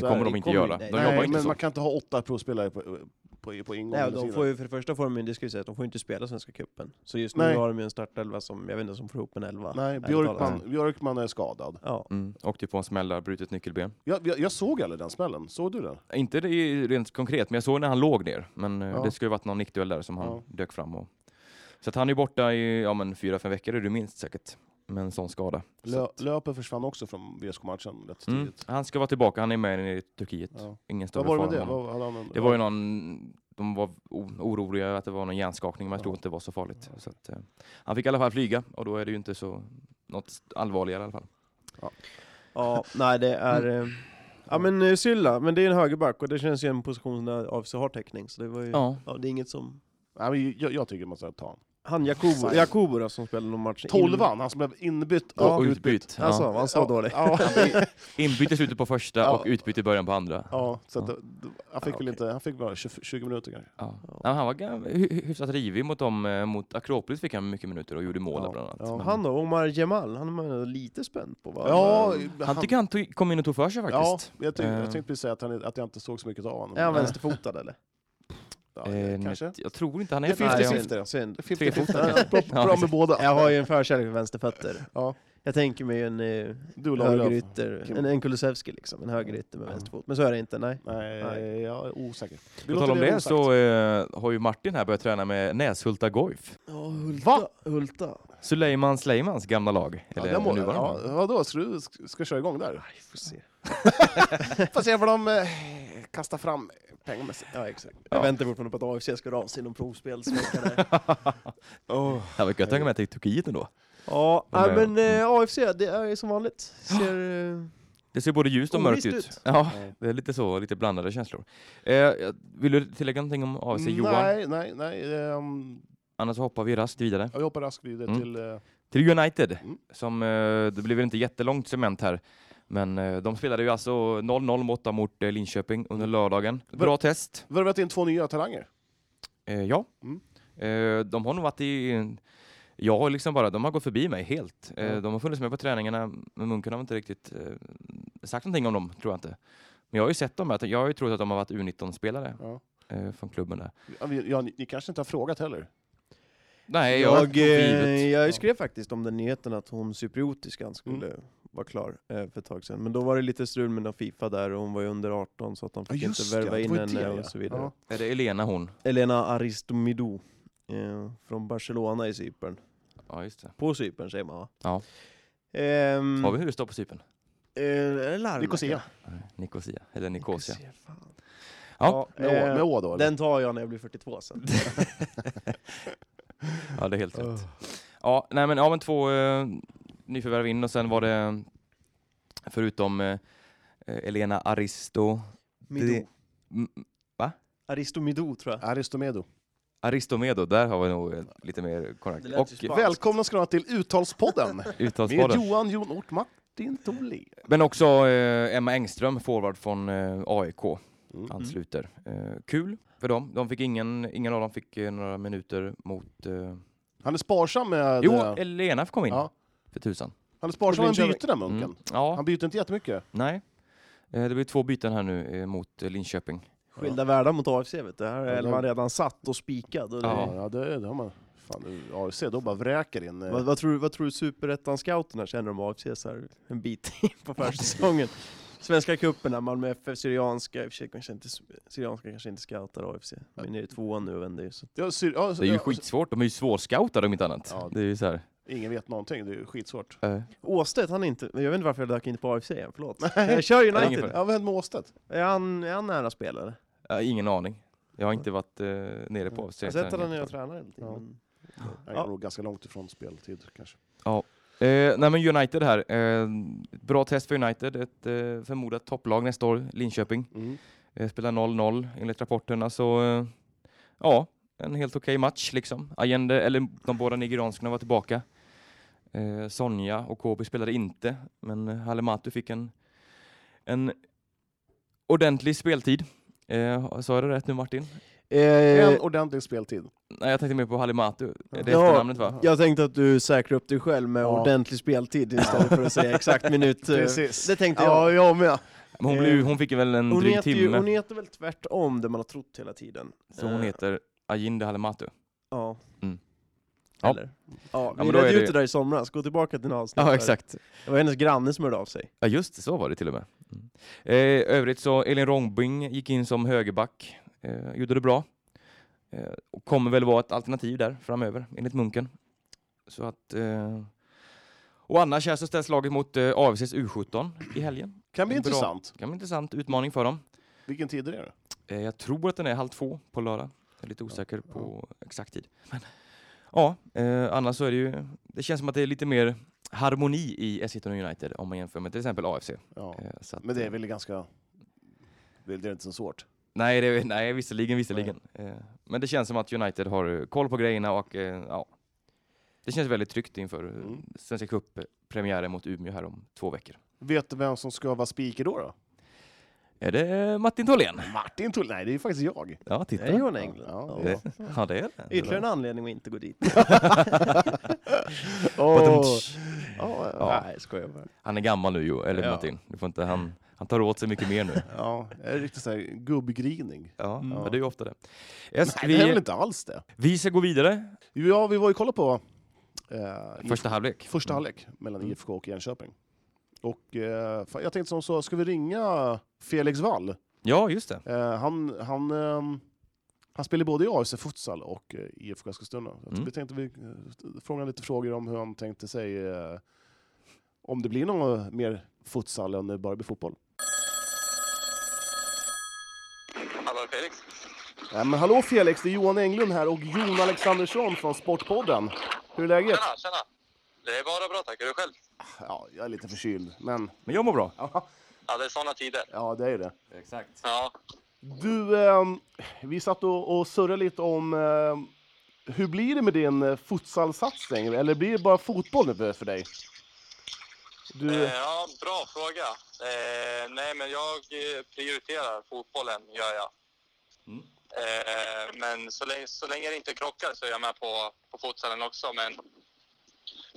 S3: så
S1: kommer
S3: är
S1: de
S2: det
S1: inte
S2: kommer
S1: göra.
S2: inte-
S1: De
S2: nej,
S1: jobbar
S3: Nej,
S1: inte
S3: men
S1: så.
S3: man kan inte ha åtta provspelare på, på, på ingång.
S2: Nej,
S3: hela
S2: de
S3: tiden.
S2: får ju, för det första får de ju, det ska vi säga, att de får inte spela Svenska cupen. Så just nu
S3: Nej.
S2: har de ju en startelva som, jag vet inte, som får ihop en elva.
S3: Nej,
S2: ärligt talat.
S3: Björkman, Björkman är skadad.
S2: Ja.
S1: Mm, åkte på en smäll där, brutit nyckelben.
S3: Jag, jag, jag såg aldrig den smällen, såg du den?
S1: Inte det är rent konkret, men jag såg när han låg ner. Men eh,
S3: Ja.
S1: det skulle ju varit någon nickduell där som han
S3: Ja.
S1: dök fram och... Så att han är borta i ja, men fyra, fem veckor är det minst säkert. Med en sån skada. Så
S3: Lö,
S1: att-
S3: Löper försvann också från VSK-matchen rätt tidigt.
S1: Mm. Han ska vara tillbaka, han är med i Turkiet.
S3: Ja.
S1: Ingen större
S3: Vad var det med det?
S1: fara med honom.
S3: Vad hade han en-
S1: Det var ju någon... De var o- oroliga att det var någon hjärnskakning, men jag
S3: Ja.
S1: tror inte det var så farligt. Så att, eh, han fick i alla fall flyga och då är det ju inte så något allvarligare i alla fall.
S2: ja, nej det är...
S3: Mm.
S2: eh, Ja men eh, Sylla, men det är en högerback och det känns ju en position där AFC har täckning. Så det var ju... Ja.
S1: Ja.
S2: det är inget som...
S3: Nej, men jag, jag tycker man ska ta honom.
S2: Han Jakobo, Jakobo då, som spelade någon match in-
S3: Tolvan, han som blev inbytt
S1: Och utbytt.
S2: Alltså,
S1: Ja.
S2: han så
S3: Ja,
S2: dålig.
S3: Ja,
S1: Inbyte i slutet på första
S3: Ja.
S1: och utbyte i början på andra.
S3: ja, så att, det- det- han fick
S2: Ja, okej.
S3: väl inte, han fick bara 20, 20 minuter kanske.
S1: Ja. Nej, Han var gam- hy- hyfsat rivig mot dem. eh, Mot Akropolis fick han mycket minuter och gjorde mål där bland annat.
S3: Ja.
S1: Men
S2: Han då, Omar Jamal, han är man lite spänd på va?
S1: han, tycker han tog, kom in och tog för sig
S3: Ja,
S1: faktiskt.
S3: jag, ty-
S1: Eh.
S3: jag tänkte precis säga att, han, att jag inte såg så mycket av honom. typ.
S2: Är han vänsterfotad eller?
S3: Ja,
S1: Eh,
S3: kanske.
S1: Jag tror inte han är
S3: Det finns
S1: Nej,
S3: det
S1: jag-
S3: syfte.
S2: Synd.
S1: Trefotad,
S3: Ja, bra,
S1: Ja,
S3: bra med
S1: exakt.
S3: båda.
S2: Jag har ju en förkärlek för vänsterfötter.
S3: Ja.
S2: Jag tänker mig en eh,
S3: Du och Lagerlöf.
S2: högerytter, en, en Kulusevski liksom, en högerytter med
S3: Ja.
S2: vänsterfot. Men så är det inte, nej.
S3: Nej, jag är osäker. Vi
S1: På
S3: låter
S1: tal om det
S3: osagt.
S1: så eh, har ju Martin här börjat träna med Näshulta Goif.
S2: Ja, Hulta.
S3: Va?
S2: Hulta.
S1: Suleiman Sleimans gamla lag.
S3: Ja,
S1: Eller
S3: jag må-
S1: nuvarande.
S3: ja, vadå, ska du ska ska jag köra igång där?
S2: Aj, får se.
S3: Får se vad de eh, kastar fram pengamässigt.
S2: Ja, exakt. Jag
S1: Ja.
S2: väntar fortfarande på att AFC ska dra av sig någon provspelsvecka där. [laughs]
S1: Det var gött att hänga med till Turkiet ändå.
S2: Ja,
S1: De
S2: nej,
S1: är-
S2: men eh, AFC, det är som vanligt. Ser, eh,
S1: Det ser både
S3: Oh,
S1: ljust och mörkt
S2: Ovisst
S1: ut.
S2: ut.
S1: Ja, det är lite så, lite blandade känslor. Eh, jag- vill du tillägga någonting om AFC Johan?
S3: Mm, Nej, nej, nej. ehm,
S1: Annars hoppar vi raskt vidare.
S3: jag hoppar raskt vidare
S1: Mm.
S3: till... eh,
S1: Till United,
S3: Mm.
S1: som, eh, det blev väl inte jättelångt cement här, men eh, de spelade ju alltså 0-0 mot, mot eh, Linköping
S3: Mm.
S1: under lördagen. Bra test.
S3: Värvat in två nya talanger.
S1: Eh, ja.
S3: Mm.
S1: Eh, de har nog varit i... Jag har liksom bara, de har gått förbi mig helt. Eh,
S3: Ja.
S1: De har funnits med på träningarna, men Munken har inte riktigt eh, sagt någonting om dem, tror jag inte. Men jag har ju sett dem, här, jag har ju trott att de har varit U19-spelare
S3: Ja.
S1: eh, från klubben där.
S3: Ja, vi- ja, ni, ni kanske inte har frågat heller?
S1: Nej, jag, har
S2: jag,
S1: tog för
S2: eh,
S1: givet.
S2: jag skrev faktiskt om den nyheten att hon cypriotiskan
S3: Mm.
S2: skulle vara klar eh, för ett tag sedan. Men då var det lite strul med någon Fifa där och hon var ju under 18 så att de
S3: Ja,
S2: fick inte
S3: just det.
S2: värva
S3: Det
S2: in
S3: var ju
S2: henne
S3: det, ja.
S2: och så vidare.
S3: Ja.
S1: Är det Elena hon?
S2: Elena Aristomidou eh, från Barcelona i Cypern.
S1: Ja, just det.
S2: På Cypern säger man va?
S1: Ja.
S2: Ehm,
S1: Har vi hur det står på Cypern?
S2: eh, är det Larnaca?
S3: Nicosia.
S1: Nej, Nicosia, eller Nicosia.
S2: Nicosia, fan.
S1: Ja,
S2: Ja,
S3: Med, å,
S2: eh,
S3: med å då? eller?
S2: den tar jag när jag blir 42 sen.
S1: [laughs] Ja, det är helt rätt. Ja, nej, men, ja, men två eh, nyförvärv in och sen var det, förutom eh, Elena Aristo,
S2: Midou.
S1: Mm, va?
S2: Aristomidou tror jag.
S3: Aristomedo.
S1: Aristomedo, där har vi nog eh, lite mer korrekt.
S2: Det lät ju spanskt.
S1: Och
S3: Välkomna ska ni vara till
S1: [laughs]
S3: Uttalspodden med
S1: uttalspodden.
S3: Johan Jon Ort Martin Tholin.
S1: Men också eh, Emma Engström, forward från eh, AIK,
S3: Mm.
S1: ansluter. Eh, kul för dem. De fick ingen, ingen av dem fick eh, några minuter mot... Eh...
S3: Han är sparsam med,
S1: Jo,
S3: eh,
S1: Elena kom in.
S3: Ja.
S1: För tusan.
S3: han är sparsam med
S2: Linköping.
S3: bytena, Munken.
S1: Mm. Ja,
S3: Han byter inte jättemycket.
S1: nej. Eh, det blir två byten här nu eh, mot eh, Linköping.
S2: Skilda världar mot AFC vet du. Här
S3: Ja,
S2: är
S3: de-
S2: man redan satt och spikad. Och det...
S1: Ja.
S3: Ja, det, det har man. Fan, du- AFC, då bara vräker in. eh,
S2: Vad, vad tror du, vad tror du superettan-scouterna känner om AFC så här en bit in på
S3: [laughs]
S2: försäsongen? Svenska cupen när Malmö FF, Syrianska, i och för sig kanske inte, Syrianska kanske inte scoutar AFC. Men det är ju tvåan nu och vänder ju. Så.
S3: Ja, syr, ja,
S1: Det är ju
S3: ja,
S1: skitsvårt. De är ju svårscoutade om inte annat.
S3: Ja.
S1: Det är ju så här.
S3: Ingen vet någonting, det är ju skitsvårt.
S1: Eh,
S2: Åstedt, han är inte, jag vet inte varför jag dök in på AFC igen, förlåt. Jag kör
S1: det är ingen
S2: United.
S1: fara.
S3: Ja, vad hände med Åstedt?
S2: Är han, är han nära spelare?
S1: jag har ingen aning. Jag har inte varit eh, nere på
S2: Jag har sett att han är tränare. hela tiden,
S3: Ja.
S2: men-
S3: Han
S2: Ja.
S3: är nog ganska långt ifrån speltid kanske.
S1: Eh, nej men United här. Eh, bra test för United. Ett eh, förmodat topplag nästa år, Linköping.
S3: Mm.
S1: Eh, spelar 0-0 enligt rapporterna så eh, ja, en helt okej match liksom. Allende, eller de båda nigerianskarna var tillbaka. Eh, Sonja och Kobi spelade inte, men eh, Halematu fick en, en ordentlig speltid. Eh, sa jag det rätt nu Martin?
S3: En
S2: Eh,
S3: ordentlig speltid.
S1: Nej, jag tänkte mer på Halimatu. Det är
S2: Ja.
S1: efternamnet va?
S2: jag tänkte att du säkrar upp dig själv med
S3: Ja.
S2: ordentlig speltid istället för att säga [laughs] exakt minut. eh,
S3: Precis.
S2: Det tänkte jag.
S3: Ja, jag med.
S1: Men hon, blev, hon fick väl en
S2: Hon
S1: dryg
S2: heter, ju,
S1: timme,
S2: hon heter väl tvärtom det man har trott hela tiden.
S1: så hon
S2: Eh,
S1: heter Allende Halimatu.
S2: Ja.
S1: Mm. Ja.
S2: Eller? Ja,
S1: men
S2: vi
S1: då är
S2: redde ut
S1: det-
S2: det där i somras, gå tillbaka till en avsnitt.
S1: Ja,
S2: där.
S1: exakt.
S2: Det var hennes granne som hörde av sig.
S1: Ja just det, så var det till och med. Mm. Eh, övrigt så Elin Rongbing gick in som högerback, eh, gjorde det bra. Eh, och kommer väl vara ett alternativ där framöver, enligt Munken. Så att... Eh, och annars här så ställs laget mot eh, AFCs U17 i helgen.
S3: Kan bli
S1: En bra-
S3: intressant.
S1: Det kan bli en intressant utmaning för dem.
S3: Vilken tid är det?
S1: Eh, jag tror att den är halv två på lördag. Jag är lite osäker på exakt tid. Men, ja, eh, annars så är det ju... Det känns som att det är lite mer harmoni i S19 United om man jämför med till exempel AFC.
S3: Ja.
S1: Eh, så att,
S3: Men det är väl ganska... Det är inte så svårt.
S1: Nej, det, nej visserligen, visserligen. Eh, Men det känns som att United har eh, koll på grejerna och eh, ja, Det känns väldigt tryggt inför eh,
S3: Mm.
S1: Svenska Cup-premiären mot Umeå här om två veckor.
S3: Vet du vem som ska vara speaker då? då?
S1: Är det eh, Martin Tholén?
S3: Martin Tull? Nej, det är faktiskt jag.
S1: Ja,
S2: Det
S1: titta.
S2: är Johan Englund.
S3: Ja,
S2: Ja.
S1: Det, ja, det är det.
S2: Ytterligare en anledning att inte gå dit. [laughs]
S3: Åh. Ja,
S1: Ja.
S2: Nej, skojar bara.
S1: Han är gammal nu, jo, eller
S2: Ja.
S1: Martin. Du får inte, han, han tar åt sig mycket mer nu.
S3: ja, det är riktigt såhär gubbgrining.
S1: Ja,
S2: Mm.
S1: ja. det är ju ofta det. Yes,
S3: Nej, det är väl
S1: vi,
S3: inte alls det.
S1: vi ska gå vidare.
S3: Ja, vi var ju kolla på eh,
S1: Första halvlek.
S3: första halvlek mellan
S1: Mm.
S3: IFK och Jönköping. Och eh, fan, jag tänkte som så, ska vi ringa Felix Wall?
S1: Ja, just det.
S3: Eh, han, han, ehm, han spelar både i AFC Futsal och eh, IFK Eskilstuna. Så att
S1: Mm.
S3: Vi tänkte vi eh, fråga lite frågor om hur han tänkte sig eh, om det blir något mer futsal än det bara blir fotboll.
S5: Hallå Felix.
S3: Eh, men hallå Felix, det är Johan Englund här och Jon Alexandersson från Sportpodden. Hur är läget?
S5: Tjena, tjena. Det är bara bra tack. Är du själv?
S3: Ja, jag är lite förkyld, men
S1: Men jag mår bra.
S5: Ja, det är såna tider.
S3: ja, det är det.
S1: Exakt.
S5: Ja,
S3: Du, ehm, vi satt och, och surrade lite om ehm, hur blir det med din eh, futsalsatsning? Eller blir det bara fotboll nu för- för dig? Du,
S5: eh, ja bra fråga. Eh, nej, men jag eh, prioriterar fotbollen, gör jag.
S1: Mm.
S5: Eh, men så länge, så länge det inte krockar så är jag med på, på futsalen också. Men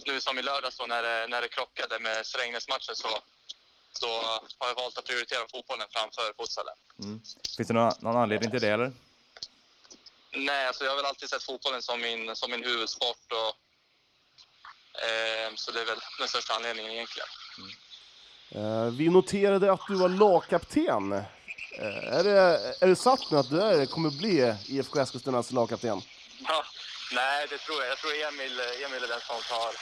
S5: nu som i lördags då, när, det, när det krockade med Strängnäsmatchen så, så har jag valt att prioritera fotbollen framför futsalen.
S1: Finns det någon, någon anledning till det, eller?
S5: Nej, alltså jag har väl alltid sett fotbollen som min, som min huvudsport. Och, ehm, så det är väl den största anledningen egentligen.
S3: eh, vi noterade att du var lagkapten. Eh, är, det, är det satt nu att du är, kommer bli IFK Eskilstunas lagkapten?
S5: Ja, nej, det tror jag. Jag tror Emil, Emil är den som tar,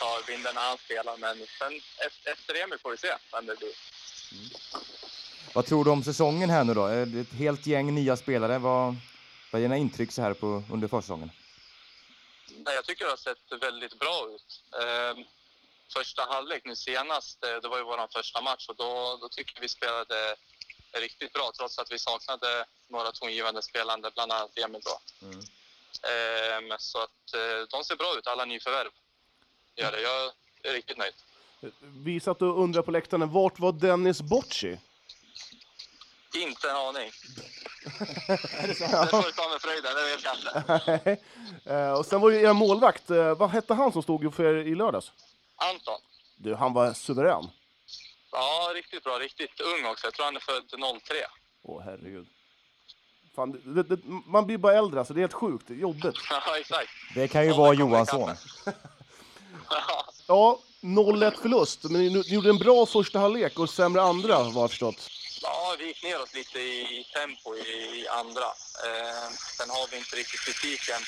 S5: tar vinden när han spelar. Men sen, efter, efter Emil får vi se vem det blir.
S1: Vad tror du om säsongen här nu då? Är det Ett helt gäng nya spelare. Vad, vad är dina intryck så här på, under försäsongen?
S5: Nej, jag tycker det har sett väldigt bra ut. Ehm, första halvlek nu senast, eh, det var ju vår första match och då, då tycker jag vi spelade riktigt bra trots att vi saknade några tongivande spelande, bland annat Emil då.
S1: Mm.
S5: Ehm, så att eh, de ser bra ut, alla nyförvärv. Gör det. Jag är riktigt nöjd.
S3: Vi satt och undrade på läktaren, vart var Dennis Bocci? [laughs]
S5: Inte
S1: [laughs]
S5: en aning. det får du ta med fröjden, det vet jag inte.
S3: Eh, och sen var ju er målvakt, eh, vad hette han som stod för er i lördags?
S5: Anton.
S3: Du, han var suverän.
S5: Ja, riktigt bra. Riktigt ung också. Jag tror han är född 03.
S3: Åh herregud. Fan, det, det, man blir bara äldre, alltså, det är helt sjukt, det är jobbigt.
S5: [laughs] Ja, exakt.
S1: Det kan ju
S5: Ja,
S1: vara
S5: det kommer
S1: Johansson. [laughs]
S5: Ja,
S3: Ja, 0-1 förlust, men ni, ni gjorde en bra första halvlek och sämre andra, vad jag har förstått.
S5: Ja, vi gick neråt lite i tempo i i andra. Eh, sen har vi inte riktigt kritiken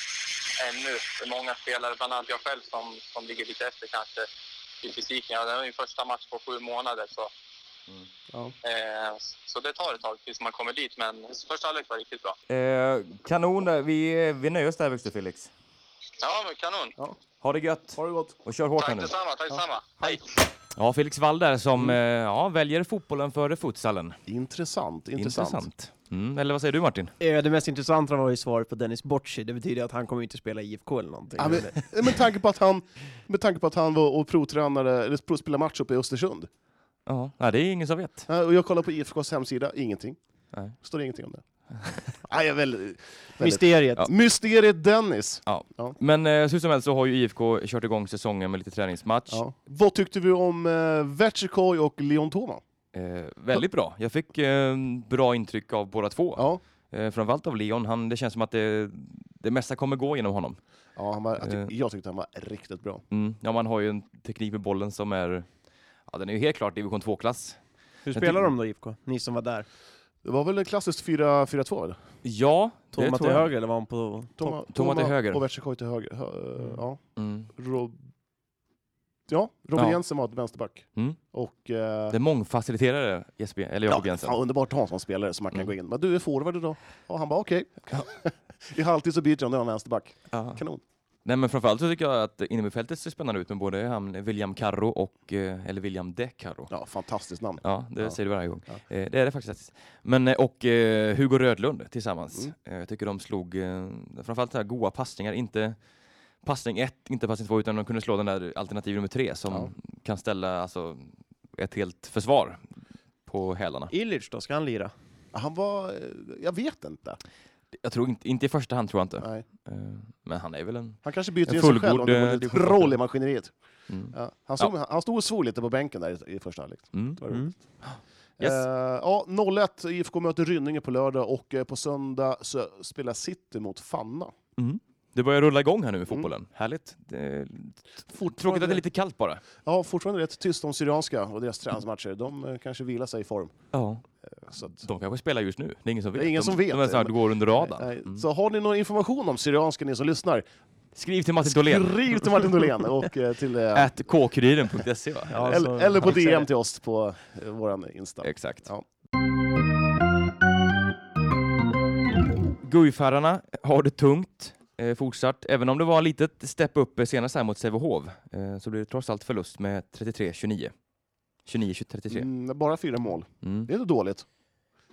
S5: ännu. Det är många spelare, bland annat jag själv, som, som ligger lite efter kanske i fysiken. Ja, det var min första match på sju månader. Så, Mm.
S3: Ja.
S5: eh, så det tar ett tag tills man kommer dit, men första halvlek var riktigt bra.
S1: Eh, kanon. Vi, vi nöjer oss där, Växjö Felix.
S5: Ja, men kanon.
S1: ha det gött
S3: Har det gått?
S1: och kör hårt här
S5: Tack
S1: nu.
S5: detsamma, tack detsamma. Hej!
S1: Ja, Felix Wall där som eh, ja, väljer fotbollen före futsalen.
S3: Intressant, intressant.
S1: Intressant. Mm, eller vad säger du Martin?
S2: Eh, Det mest intressanta var ju svaret på Dennis Bocci, det betyder att han kommer inte spela i IFK eller någonting.
S3: Ja, men, eh, med, tanke på att han, med tanke på att han var och provtränade, eller prov- spelade match uppe i Östersund.
S1: Ja, nej, det är ingen som vet.
S3: Ja, Och jag kollar på IFKs hemsida, ingenting.
S1: Nej.
S3: Står ingenting
S1: [laughs]
S3: om det. Nej, jag är väldigt, väldigt.
S2: Mysteriet.
S3: Mysteriet Dennis.
S1: Men eh, hur som helst så har ju IFK kört igång säsongen med lite träningsmatch.
S3: Ja. Vad tyckte vi om eh, Vetchikoi och Leon Toma?
S1: Eh, väldigt bra. Jag fick eh, bra intryck av båda två.
S3: Ja.
S1: Eh, framförallt av Leon. Han, det känns som att det, det mesta kommer gå genom honom.
S3: Ja, han var, jag,
S1: Eh.
S3: tyck, jag tyckte han var riktigt bra.
S1: Mm. Ja, man har ju en teknik med bollen som är... Ja, den är ju helt klart division 2-klass.
S2: Hur
S1: Jag
S2: spelar
S1: tycker-
S2: de då IFK? Ni som var där?
S3: Det var väl klassiskt 4-4-2? eller?
S1: Ja, det
S2: Tog man till
S1: tror jag.
S2: höger eller var han på topp?
S3: Toma,
S1: Toma till höger.
S3: Och Vetchikoi till höger. Hö- eh,
S2: Mm.
S3: Ja.
S1: Mm.
S3: Rob... Ja, Robin
S1: Ja.
S3: Jensen var ett vänsterback.
S1: Mm.
S3: Och... Eh,
S1: Den mångfaciliterade Jesper, eller Jakob
S3: ja,
S1: Jensen.
S3: fan, underbart att ha en sån spelare som man kan
S1: Mm.
S3: gå in. Men du är forward idag? Och han bara okej. [laughs] I halvtid så byter han, nu är han vänsterback.
S1: Ja.
S3: Kanon.
S1: Nej, men framförallt så tycker jag att innermittfältet ser spännande ut med både han, William Carro och, eh, eller William De Carro.
S3: Ja, fantastiskt namn.
S1: Ja, det
S3: Ja.
S1: säger du varje gång.
S3: Ja.
S1: Eh, det är det faktiskt. Men, eh, och eh, Hugo Rödlund tillsammans.
S3: Mm.
S1: Eh, jag tycker de slog eh, framförallt så här goa passningar, inte passning ett, inte passning två, utan de kunde slå den där alternativ nummer tre som
S2: Ja.
S1: kan ställa alltså, ett helt försvar på hälarna.
S2: Illich då, ska han lira?
S3: Han var... eh, Jag vet inte.
S1: Jag tror inte, inte i första hand tror jag inte.
S3: Nej.
S1: Eh, Men han är väl en...
S3: Han kanske byter
S1: En
S3: in sig själv om
S1: fullgod,
S3: det
S1: eh,
S3: var lite
S1: division
S3: roll
S1: åtta.
S3: i maskineriet.
S1: Mm.
S3: Ja. Han, stod, han stod och svor lite på bänken där i, i första halvlek.
S1: Mm.
S3: Det var roligt.
S1: Yes.
S3: Eh, ja, 01, IFK möter Rynninge på lördag och eh, på söndag så spelar City mot Fanna.
S1: Mm. Det börjar rulla igång här nu i fotbollen.
S3: Mm.
S1: Härligt. Det är... Tråkigt att det är lite kallt bara.
S3: Ja, fortfarande rätt tyst om Syrianska och deras träningsmatcher. De eh, kanske vilar sig i form.
S1: Ja.
S3: Så, att,
S1: De kanske spelar just nu. Det är ingen som
S3: Det är
S1: vet.
S3: ingen
S1: de,
S3: som vet.
S1: De är så här, det går under radarn.
S3: nej,
S1: Mm.
S3: Eh, så har ni någon information om Syrianska, ni som lyssnar,
S1: Skriv till Martin Dolén. Äh,
S3: skriv till Martin
S1: [laughs]
S3: Dolén och eh, till, [laughs] eh,
S1: At kkuriren.se va?
S2: Ja,
S1: Eller-
S2: så-
S3: eller, eller på
S2: fixar
S3: DM
S2: det.
S3: till oss på eh, vår Insta.
S1: Exakt.
S3: Ja.
S1: Guifärarna har det tungt eh, fortsatt. Även om det var ett litet step upp eh, senast här mot Sävehof eh, så blev det trots allt förlust med 33-29. 29-33.
S3: Mm, bara fyra mål.
S1: Mm.
S3: Det är inte dåligt.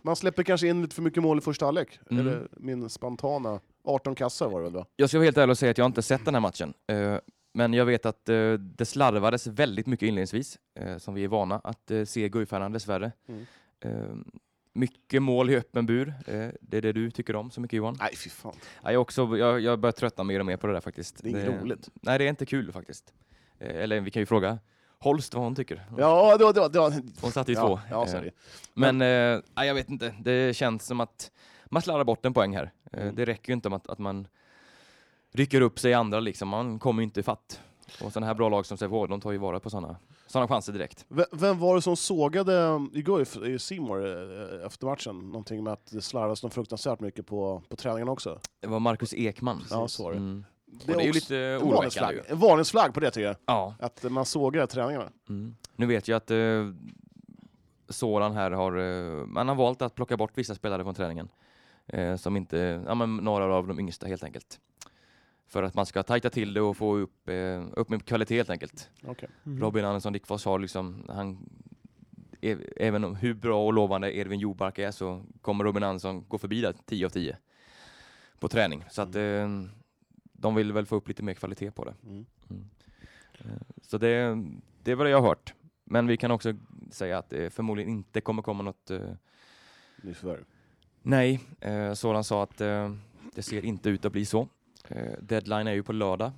S3: Man släpper kanske in lite för mycket mål i första halvlek.
S1: Mm.
S3: Eller min spontana 18 kassar var det väl då?
S1: Jag ska vara helt ärlig och säga att jag inte sett den här matchen. Eh, Men jag vet att eh, det slarvades väldigt mycket inledningsvis, eh, som vi är vana att eh, se Guifärarna dessvärre.
S3: Mm.
S1: Eh, Mycket mål i öppen bur. Eh, Det är det du tycker om så mycket Johan.
S3: Nej, fy fan.
S1: Ja, Jag, också, jag, jag börjar tröttna mer och mer på det där faktiskt. Eh,
S3: Det är inget roligt.
S1: Nej, det är inte kul faktiskt. Eh, Eller vi kan ju fråga Holst vad hon tycker.
S3: Ja, det var... Det var, det var
S1: Hon satte ju två.
S3: ja, ja,
S1: Eh,
S3: sorry.
S1: Men eh, nej, jag vet inte, det känns som att man slarvar bort en poäng här. Eh,
S3: Mm.
S1: Det räcker ju inte med att, att man rycker upp sig i andra liksom, man kommer ju inte ifatt. Och sådana här bra lag som Sävehof, de tar ju vara på sådana såna chanser direkt.
S3: V- Vem var det som sågade um, igår i- i Simor efter matchen? Någonting med att det slarvas något fruktansvärt mycket på, på träningen också.
S1: Det var Marcus Ekman.
S3: Ja, så var det.
S1: Mm. Det, och det är ju
S3: också
S1: lite
S3: en
S1: oroväckande.
S3: varningsflagg.
S1: ju.
S3: En varningsflagg på det tycker jag.
S1: Ja.
S3: Att eh, man sågar träningarna.
S1: Mm. Nu vet jag att eh, Soran här har, eh, man har valt att plocka bort vissa spelare från träningen. Eh, som inte, ja men några av de yngsta helt enkelt. För att man ska tajta till det och få upp, eh, upp med kvalitet helt enkelt.
S3: Okej.
S2: Mm.
S1: Robin Andersson Dickfors har liksom, han, e- även om hur bra och lovande Edvin Jobark är så kommer Robin Andersson gå förbi där 10 av 10 på träning. Så att eh, de vill väl få upp lite mer kvalitet på det.
S3: Mm.
S1: Så det, det är vad jag har hört. Men vi kan också säga att det förmodligen inte kommer komma något eh,
S3: Nyförvärv.
S1: nej. Eh, Soran sa att eh, det ser inte ut att bli så. Eh, deadline är ju på lördag.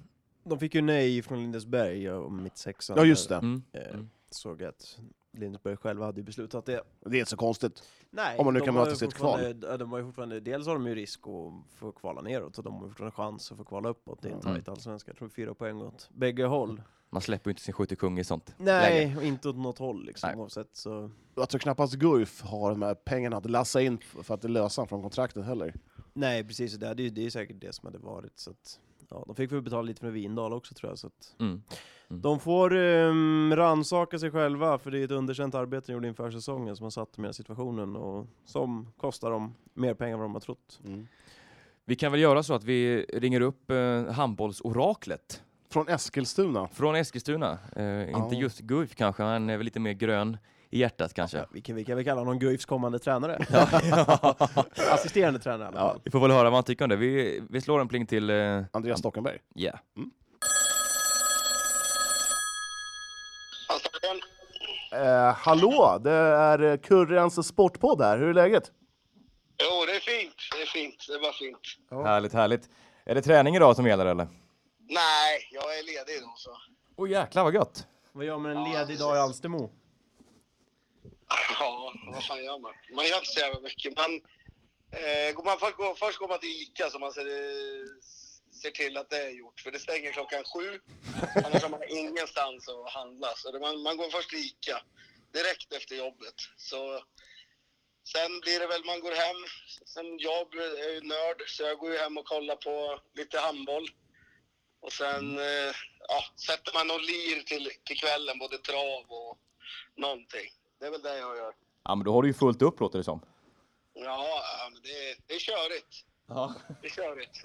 S2: De fick ju nej från Lindesberg om mitt sexan.
S3: Ja, just det.
S1: Mm.
S2: Eh,
S1: Mm.
S2: Såg att Lindesberg själva hade ju beslutat det.
S3: Det är inte så konstigt.
S2: Nej,
S3: Om man nu
S2: de
S3: kan
S2: har
S3: möta
S2: ju
S3: sitt
S2: fortfarande- ja, De har ju fortfarande, dels har de ju risk att få kvala neråt och de har ju fortfarande chans att få kvala uppåt. Det är en
S1: Mm.
S2: tajt allsvenska, jag tror fyra poäng åt bägge
S3: Mm.
S2: håll.
S1: Man släpper ju inte sin skyttekung i sånt läge.
S2: Nej, och inte åt något håll liksom
S1: Nej.
S2: oavsett så.
S3: Jag tror knappast Guif har de här pengarna att lassa in för att lösa honom från kontraktet heller.
S2: Nej precis, det, hade ju, det är ju säkert det som hade varit så att, ja, de fick väl betala lite för Vindal också tror jag så att
S1: Mm.
S2: De får um, ransaka sig själva för det är ett underkänt arbete de gjorde inför säsongen som har satt dem i den här situationen och som kostar dem mer pengar än vad de har trott.
S1: Vi kan väl göra så att vi ringer upp eh, handbollsoraklet
S3: Från Eskilstuna.
S1: från Eskilstuna. Eh, Inte
S3: Ja.
S1: just Guif kanske, han är väl lite mer grön i hjärtat kanske.
S2: Vi kan, vi kan väl kalla honom Guifs kommande tränare. [laughs] Assisterande tränare i alla fall.
S1: Vi får väl höra vad han tycker om det. Vi, vi slår en pling till... Eh,
S3: Andreas Stockenberg.
S1: yeah.
S3: Eh, hallå, det är eh, Kurrens sportpodd här. Hur är läget?
S5: Jo, det är fint. Det är fint. Det var fint.
S1: Härligt, härligt. Är det träning idag som gäller eller?
S5: Nej, jag är ledig då så.
S1: Åh jäklar vad gött!
S2: Vad gör man en ledig dag i Alstermo?
S5: Ja, vad fan gör man? Man gör inte så jävla mycket. Man, eh, går man, först, går, först går man till Ica så man ser, ser till att det är gjort. För det stänger klockan sju. Annars har man ingenstans att handla. Så det, man, man går först till Ica. Direkt efter jobbet. Så, sen blir det väl man går hem. Sen jag är ju nörd så jag går ju hem och kollar på lite handboll. Och sen eh, ja, sätter man någon lir till, till kvällen, både trav och någonting. Det är väl det jag gör.
S1: Ja men då har du ju fullt upp låter det som.
S5: Ja, ja, men det, det är körigt.
S1: Ja.
S5: Det är körigt.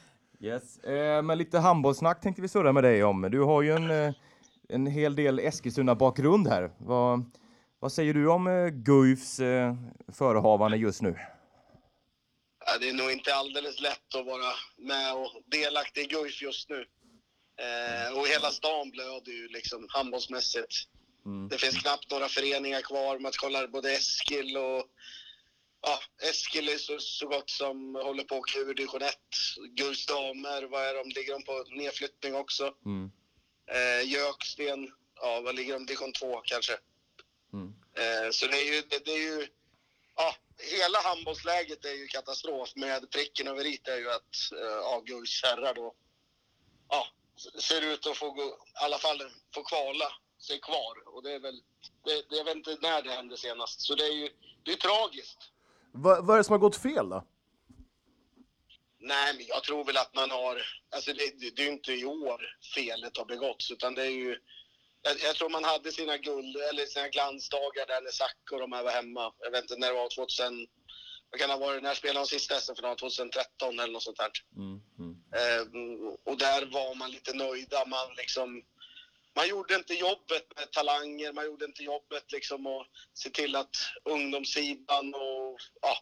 S5: [laughs]
S1: Yes. Eh, men lite handbollssnack tänkte vi surra med dig om. Du har ju en, eh, en hel del Eskilstuna-bakgrund här. Vad, vad säger du om eh, Guifs eh, förehavande just nu?
S5: Ja,
S6: eh, det är nog inte alldeles lätt att vara med och delaktig i Guif just nu. Eh, och hela stan blöder ju liksom handbollsmässigt.
S1: Mm.
S6: Det finns knappt några föreningar kvar. Man kollar både Eskil och... Ja, Eskil är så, så gott som håller på att åka ur division 1. Guifs damer, vad är de? Ligger de på nedflyttning också?
S1: Mm.
S6: Eh, Jöksten, ja, vad ligger de? Division 2 kanske.
S1: Mm.
S6: Eh, så det är ju... Det, det är ju ja, hela handbollsläget är ju katastrof med pricken över i är ju att eh, ja, Guifs herrar då ja, ser ut att få gå, i alla fall få kvala sig kvar. Och det är väl, det, det, jag vet inte när det hände senast, så det är ju det är tragiskt.
S3: Va, vad är det som har gått fel då?
S6: Nej, men jag tror väl att man har... Alltså det, det, det är ju inte i år felet har begåtts, utan det är ju... Jag, jag tror man hade sina guld, eller sina glansdagar där när Zack och de här var hemma. Jag vet inte när det var, 2000... Vad kan det ha varit? När spelade de sista SM-finalen? 2013 eller något sånt där.
S1: Mm. Mm.
S6: Ehm, och där var man lite nöjda. Man liksom... Man gjorde inte jobbet med talanger, man gjorde inte jobbet liksom att se till att ungdomssidan och ja,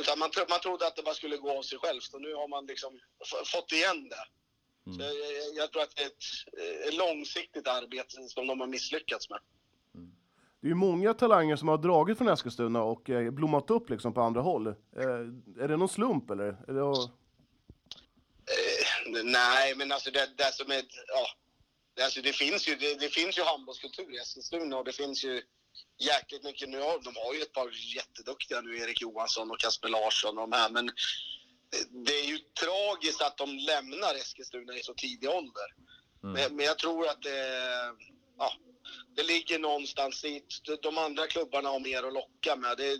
S6: utan man, tro, man trodde att det bara skulle gå av sig självt och nu har man liksom f- fått igen det. Så jag, jag, jag tror att det är ett, eh, långsiktigt arbete som de har misslyckats med.
S3: Det är ju många talanger som har dragit från Eskilstuna och eh, blommat upp liksom på andra håll. Eh, är det någon slump eller? Är det,
S6: Eh, nej, men alltså det, det som är... Ja, det, alltså det, finns ju, det, det finns ju handbollskultur i Eskilstuna och det finns ju jäkligt mycket. Nu har, de har ju ett par jätteduktiga nu, Erik Johansson och Kasper Larsson och de här, men det- det är ju tragiskt att de lämnar Eskilstuna i så tidig ålder. Men, men jag tror att det, ja, det ligger någonstans dit. De- De andra klubbarna har mer att locka med. Det,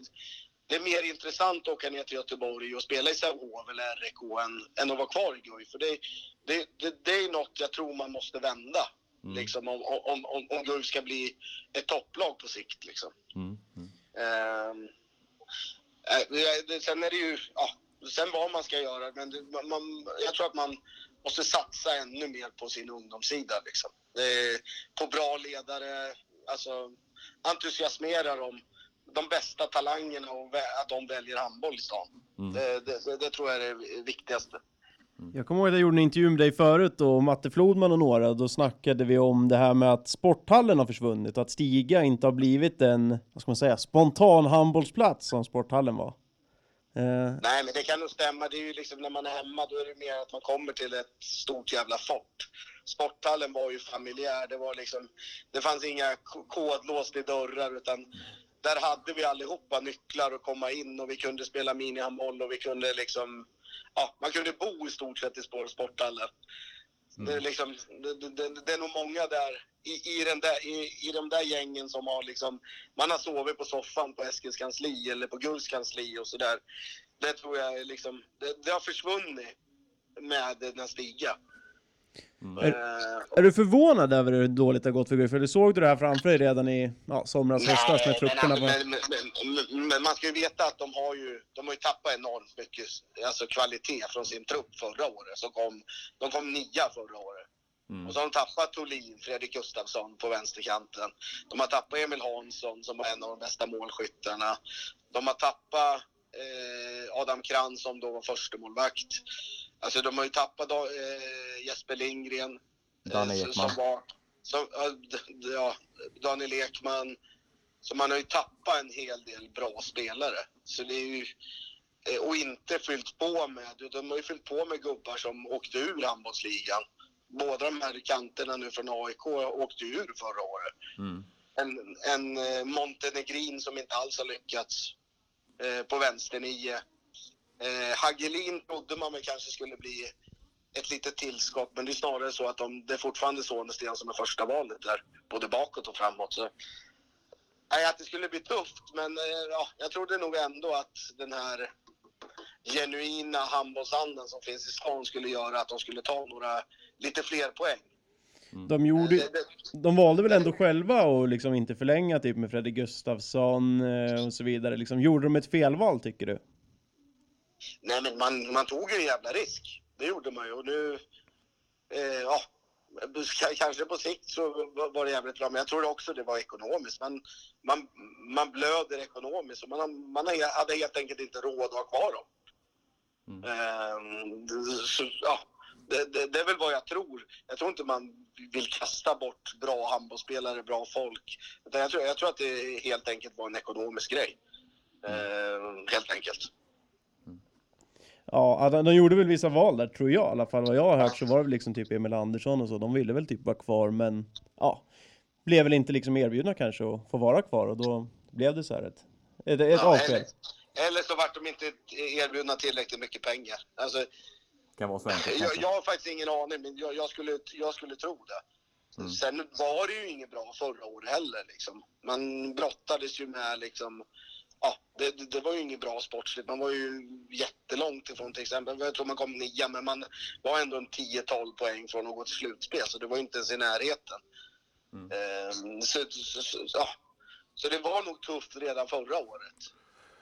S6: det är mer intressant att åka ner till Göteborg och spela i Sävehof eller RIK än, än att vara kvar i Guif. För det, det, det, det är något jag tror man måste vända. Liksom, om, om, om, om Guif ska bli ett topplag på sikt. Liksom.
S1: Mm.
S6: Ehm, eh, det- det- sen är det ju, ja, sen vad man ska göra, men det, man- man, jag tror att man måste satsa ännu mer på sin ungdomssida liksom. Eh, På bra ledare, alltså entusiasmera dem, de bästa talangerna och vä- att de väljer handboll i stan. Det, det, det, det tror jag är det viktigaste.
S2: Jag kommer ihåg att jag gjorde en intervju med dig förut och Matte Flodman och några. Då snackade vi om det här med att sporthallen har försvunnit och att Stiga inte har blivit en, vad ska man säga, spontan handbollsplats som sporthallen var. Eh,
S6: Nej, men det kan nog stämma. Det är ju liksom när man är hemma, då är det mer att man kommer till ett stort jävla fort. Sporthallen var ju familjär. Det var liksom, det fanns inga k- kodlås i dörrar, utan där hade vi allihopa nycklar att komma in och vi kunde spela minihandboll och vi kunde liksom, ja, man kunde bo i stort sett i spår- sporthallen. Det, är liksom, det, det- det, det är nog många där i, i, den där, i, i de där gängen som har liksom, man har sovit på soffan på Eskils kansli eller på Guls kansli och sådär. Det tror jag är liksom, det, det har försvunnit med den här Stiga. Eh,
S2: Är du förvånad över hur dåligt det har gått för Guif? Eller såg du det här framför dig redan i ja, somras, höstas när trupperna
S6: men, alltså,
S2: var...
S6: men, men, men, men man ska ju veta att de har ju, de har ju tappat enormt mycket alltså kvalitet från sin trupp förra året. Så kom, de kom nia förra året.
S2: Mm.
S6: Och så har de tappat Tolin, Fredrik Gustafsson på vänsterkanten. De har tappat Emil Hansson som var en av de bästa målskyttarna. De har tappat eh, Adam Krantz som då var förstemålvakt. Alltså de har ju tappat eh, Jesper Lindgren. eh,
S1: Daniel
S6: som-
S1: Ekman.
S6: Som var, som, ja, d- d- ja, Daniel Ekman. Så man har ju tappat en hel del bra spelare. Så det är ju, eh, och inte fyllt på med, de har ju fyllt på med gubbar som åkte ur handbollsligan. Båda de här kanterna nu från AIK åkte ur förra året.
S1: Mm.
S6: En, en eh, Montenegrin som inte alls har lyckats eh, på vänster nio. Eh, Hagelin trodde man väl kanske skulle bli ett litet tillskott, men det är snarare så att de, det är fortfarande Sonesten som är första valet där, både bakåt och framåt. Så. Nej, att det skulle bli tufft, men eh, ja, jag trodde nog ändå att den här genuina handbollsandan som finns i stan skulle göra att de skulle ta några lite fler poäng.
S2: De, gjorde,
S6: Det- det-
S2: de valde väl ändå själva att liksom inte förlänga typ med Fredrik Gustafsson eh, och så vidare. Liksom, gjorde de ett felval tycker du?
S6: Nej, men man, man tog ju en jävla risk. Det gjorde man ju. Och nu, eh, ja, k- kanske på sikt så var- var det jävligt bra. Men jag tror också det var ekonomiskt. Man, man, man blöder ekonomiskt och man, har- man har- hade helt enkelt inte råd att ha kvar dem.
S1: Mm.
S6: Ehm, så, ja, det, det, det är väl vad jag tror. Jag tror inte man vill kasta bort bra handbollsspelare, bra folk. Utan jag, tror, jag tror att det helt enkelt var en ekonomisk grej. Ehm, helt enkelt.
S2: Ja, de, de gjorde väl vissa val där tror jag i alla fall. Vad jag har hört så var det väl liksom typ Emil Andersson och så. De ville väl typ vara kvar men ja, blev väl inte liksom erbjudna kanske att få vara kvar och då blev det så här ett, ett, ett
S6: Ja,
S2: avsked.
S6: eller, eller så vart de inte erbjudna tillräckligt mycket pengar. Alltså,
S1: Kan vara så
S6: jag,
S1: enkelt. kanske.
S6: jag har faktiskt ingen aning, men jag, jag, skulle, jag skulle tro det.
S1: Mm.
S6: Sen var det ju inget bra förra året heller. Liksom. Man brottades ju med liksom... Ja, det, det- det var ju inget bra sportsligt. Man var ju jättelångt ifrån till exempel. Jag tror man kom nia, men man var ändå en 10-12 poäng från något slutspel. Så det var ju inte ens i närheten.
S1: Mm.
S6: Ehm, så, så, så, ja. så det var nog tufft redan förra året.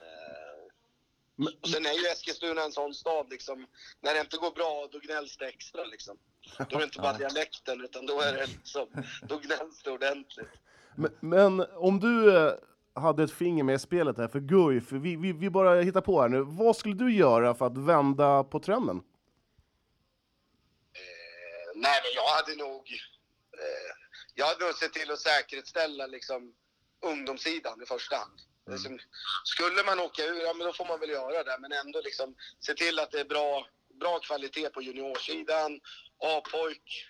S6: Ehm, och sen är ju Eskilstuna en sån stad liksom, när det inte går bra då gnälls det extra liksom. Då är det inte bara dialekten utan då är det liksom, då gnälls det ordentligt.
S3: Men, men om du eh, hade ett finger med i spelet här för Guif, vi, vi, vi bara hittar på här nu. Vad skulle du göra för att vända på trenden?
S6: Eh, nej men jag hade nog, eh, jag hade nog sett till att säkerställa liksom ungdomssidan i första hand. Liksom, skulle man åka ur, ja men då får man väl göra det. Men ändå liksom se till att det är bra, bra kvalitet på juniorsidan, A-pojk.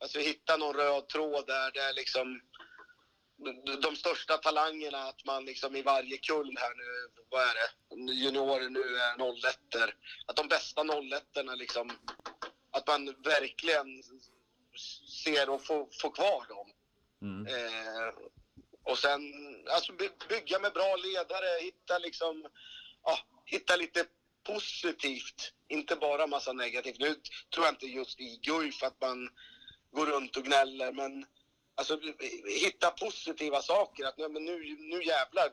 S6: Alltså hitta någon röd tråd där det är liksom de- de största talangerna att man liksom i varje kull här nu, vad är det, juniorer nu är 01 Att de bästa 01 liksom, att man verkligen ser och får, får kvar dem.
S1: Mm.
S6: Eh, och sen alltså by, bygga med bra ledare, hitta liksom, ja, hitta lite positivt, inte bara massa negativt. Nu tror jag inte just i Guif att man går runt och gnäller, men alltså hitta positiva saker. Att nu, men nu, nu jävlar,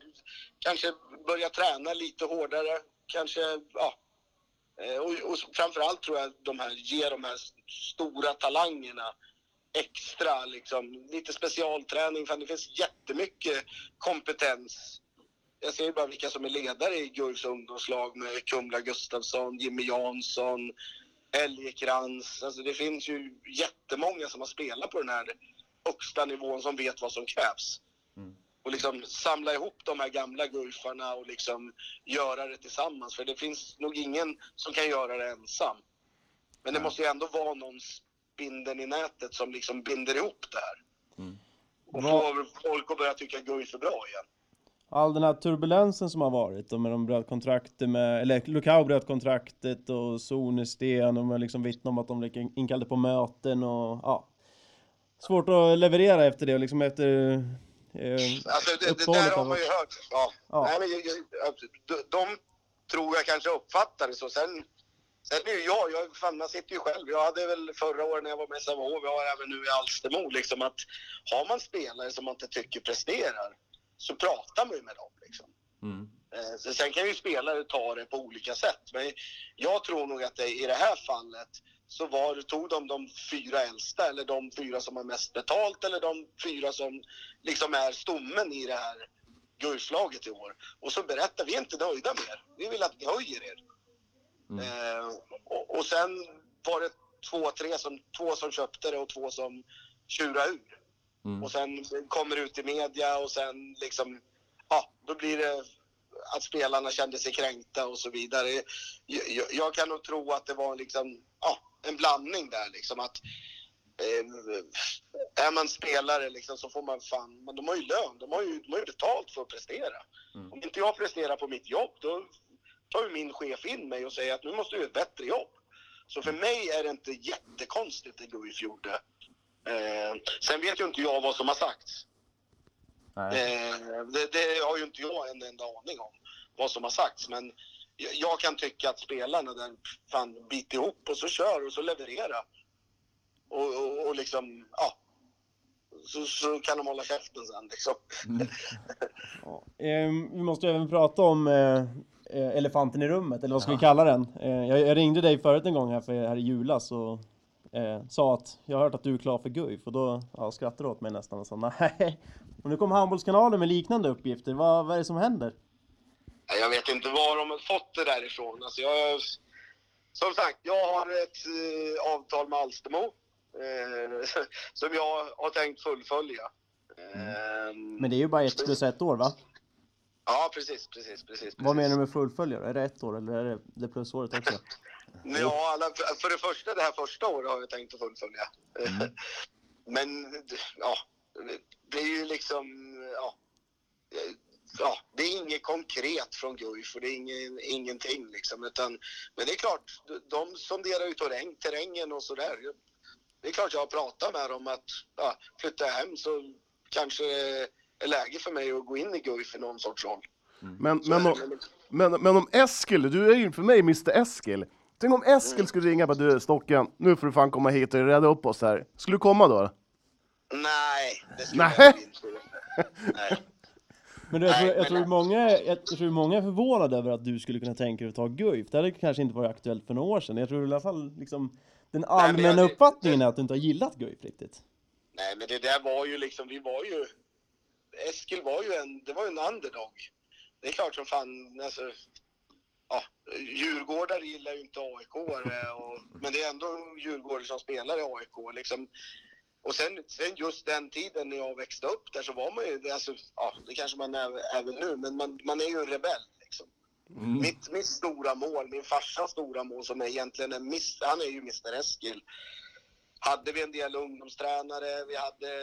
S6: kanske börja träna lite hårdare, kanske, ja. Eh, Och, och framförallt tror jag att de här ger de här stora talangerna extra, liksom, lite specialträning. För det finns jättemycket kompetens. Jag ser ju bara vilka som är ledare i Guifs ungdomslag med Kumla Gustafsson, Jimmy Jansson, Elgekrans. Alltså det finns ju jättemånga som har spelat på den här högsta nivån som vet vad som krävs.
S1: Mm.
S6: Och liksom samla ihop de här gamla Guifarna och liksom göra det tillsammans. För det finns nog ingen som kan göra det ensam. Men det
S1: Nej.
S6: måste ju ändå vara någon spindeln i nätet som liksom binder ihop det här.
S1: Mm.
S6: Och
S2: Vad-
S6: får folk att börja tycka Guif är bra igen.
S2: All den här turbulensen som har varit och med de bröt kontraktet med, eller Lukau bröt kontraktet och Sonesten och man liksom vittnade om att de liksom inkallade på möten och ja. Svårt att leverera efter det och liksom efter eh,
S6: Alltså det, det där
S2: uppehållet
S6: har
S2: av
S6: man ju hört. Ja.
S2: Ja.
S6: Nej, men, jag- jag- absolut. de, de tror jag kanske uppfattar det så. Sen, sen är ju jag, jag fan, man sitter ju själv. Jag hade väl förra året när jag var med i Sävehof, jag har även nu i Alstermo, liksom att har man spelare som man inte tycker presterar så pratar man ju med dem. Liksom.
S1: Mm.
S6: Eh, så Sen kan ju spelare ta det på olika sätt, men jag tror nog att det, i det här fallet så var, tog de de fyra äldsta, eller de fyra som har mest betalt, eller de fyra som liksom är stommen i det här Guiflaget i år. Och så berättar vi är inte nöjda med er. Vi vill att ni höjer er.
S1: Mm.
S6: Eh, och, och sen var det två, tre som, två som köpte det och två som tjurade ur.
S1: Mm.
S6: Och sen kommer ut i media och sen liksom, ja, då blir det att spelarna kände sig kränkta och så vidare. Jag, jag, jag kan nog tro att det var liksom, ja, en blandning där liksom att eh, är man spelare liksom så får man fan, men de har ju lön, de har ju, de har ju betalt för att prestera.
S1: Mm.
S6: Om inte jag presterar på mitt jobb, då tar ju min chef in mig och säger att nu måste du göra ett bättre jobb. Så för mig är det inte jättekonstigt det Guif gjorde. Eh, sen vet ju inte jag vad som har sagts.
S1: Nej.
S6: Eh, det, det har ju inte jag en enda aning om vad som har sagts. Men jag, jag kan tycka att spelarna, den fan bit ihop och så kör och så leverera. Och, och, och liksom, ja. Så, så kan de hålla käften sen liksom.
S2: Ja, ehm, vi måste ju även prata om eh, eh, elefanten i rummet, eller vad ska vi kalla den? Eh, jag, jag ringde dig förut en gång här, för, här i julas och eh, sa att jag har hört att du är klar för Guif och då ja, skrattade du åt mig nästan och sa nej. Och nu kom Handbollskanalen med liknande uppgifter, vad, vad är det som händer?
S6: Nej, Jag vet inte var de har fått det därifrån. Alltså jag, som sagt, jag har ett eh, avtal med Alstermo eh, [laughs] som jag har tänkt fullfölja. Ehm,
S2: Mm. Men det är ju bara ett plus ett år va?
S6: Ja, precis, precis, precis. precis.
S2: Vad menar du med fullfölja då? Är det ett år eller är det det plusåret också?
S6: Ja, alla, för- för det första, det här första året har jag tänkt att fullfölja. [laughs] Men ja, det är ju liksom, ja, ja, det är inget konkret från Guif och det är ingen, ingenting liksom. Utan, men det är klart, de sonderar ju terräng, terrängen och sådär. Det är klart jag har pratat med dem att ja, flyttar jag hem så kanske det är läge för mig att gå in i Guif i någon sorts roll.
S3: Men,
S6: Så
S3: men,
S6: är
S3: om,
S6: det väl.
S3: men, men om Eskil, du är ju för mig Mr Eskil. Tänk om Eskil skulle ringa på du Stocken, nu får du fan komma hit och rädda upp oss här. Skulle du komma då?
S6: Nej, det skulle
S3: Nej.
S6: jag inte. Nej.
S2: Men du, jag, tror,
S6: Nej,
S2: jag,
S6: men-
S2: tror många, jag tror många är förvånade över att du skulle kunna tänka dig att ta Guif. Det hade kanske inte varit aktuellt för några år sedan. Jag tror i alla fall liksom den
S6: jag-
S2: allmänna
S6: det-
S2: uppfattningen är att du inte har gillat Guif riktigt.
S6: Nej, men det där var ju liksom, vi var ju... Eskil var ju en, det var ju en underdog. Det är klart som fan, alltså... Ja, djurgårdar gillar ju inte AIK, och, men det är ändå djurgårdar som spelar i AIK. Liksom. Och sen, sen just den tiden när jag växte upp där så var man ju, det, alltså, ja, det kanske man är även nu, men man, man är ju en rebell. Liksom. Mitt, mitt stora mål, min farsas stora mål som är egentligen en miss, han är ju Mr Eskil hade vi en del ungdomstränare, vi hade,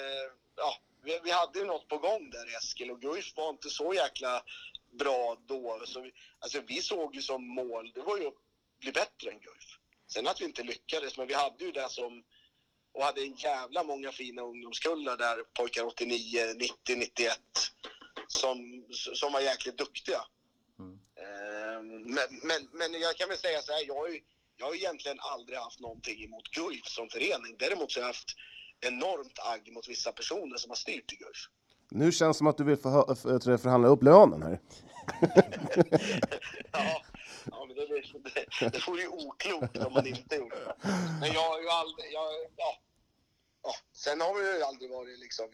S6: ja, vi, vi hade ju något på gång där i Eskil och Guif var inte så jäkla bra då. Så vi, alltså vi såg ju som mål, det var ju att bli bättre än Guif. Sen att vi inte lyckades, men vi hade ju det som, och hade en jävla många fina ungdomskullar där, pojkar 89, 90, 91, som, som var jäkligt duktiga. Ehm, Men, men, men jag kan väl säga så här, jag har ju jag har egentligen aldrig haft någonting emot Guif som förening. Däremot så har jag haft enormt agg mot vissa personer som har styrt i Guif.
S3: Nu känns det som att du vill förhö- för- förhandla upp lönen här.
S6: Ja, ja men det, det, det vore ju oklokt om man inte gjorde det. Men jag har ju aldrig, jag, ja. ja. Sen har vi ju aldrig varit liksom,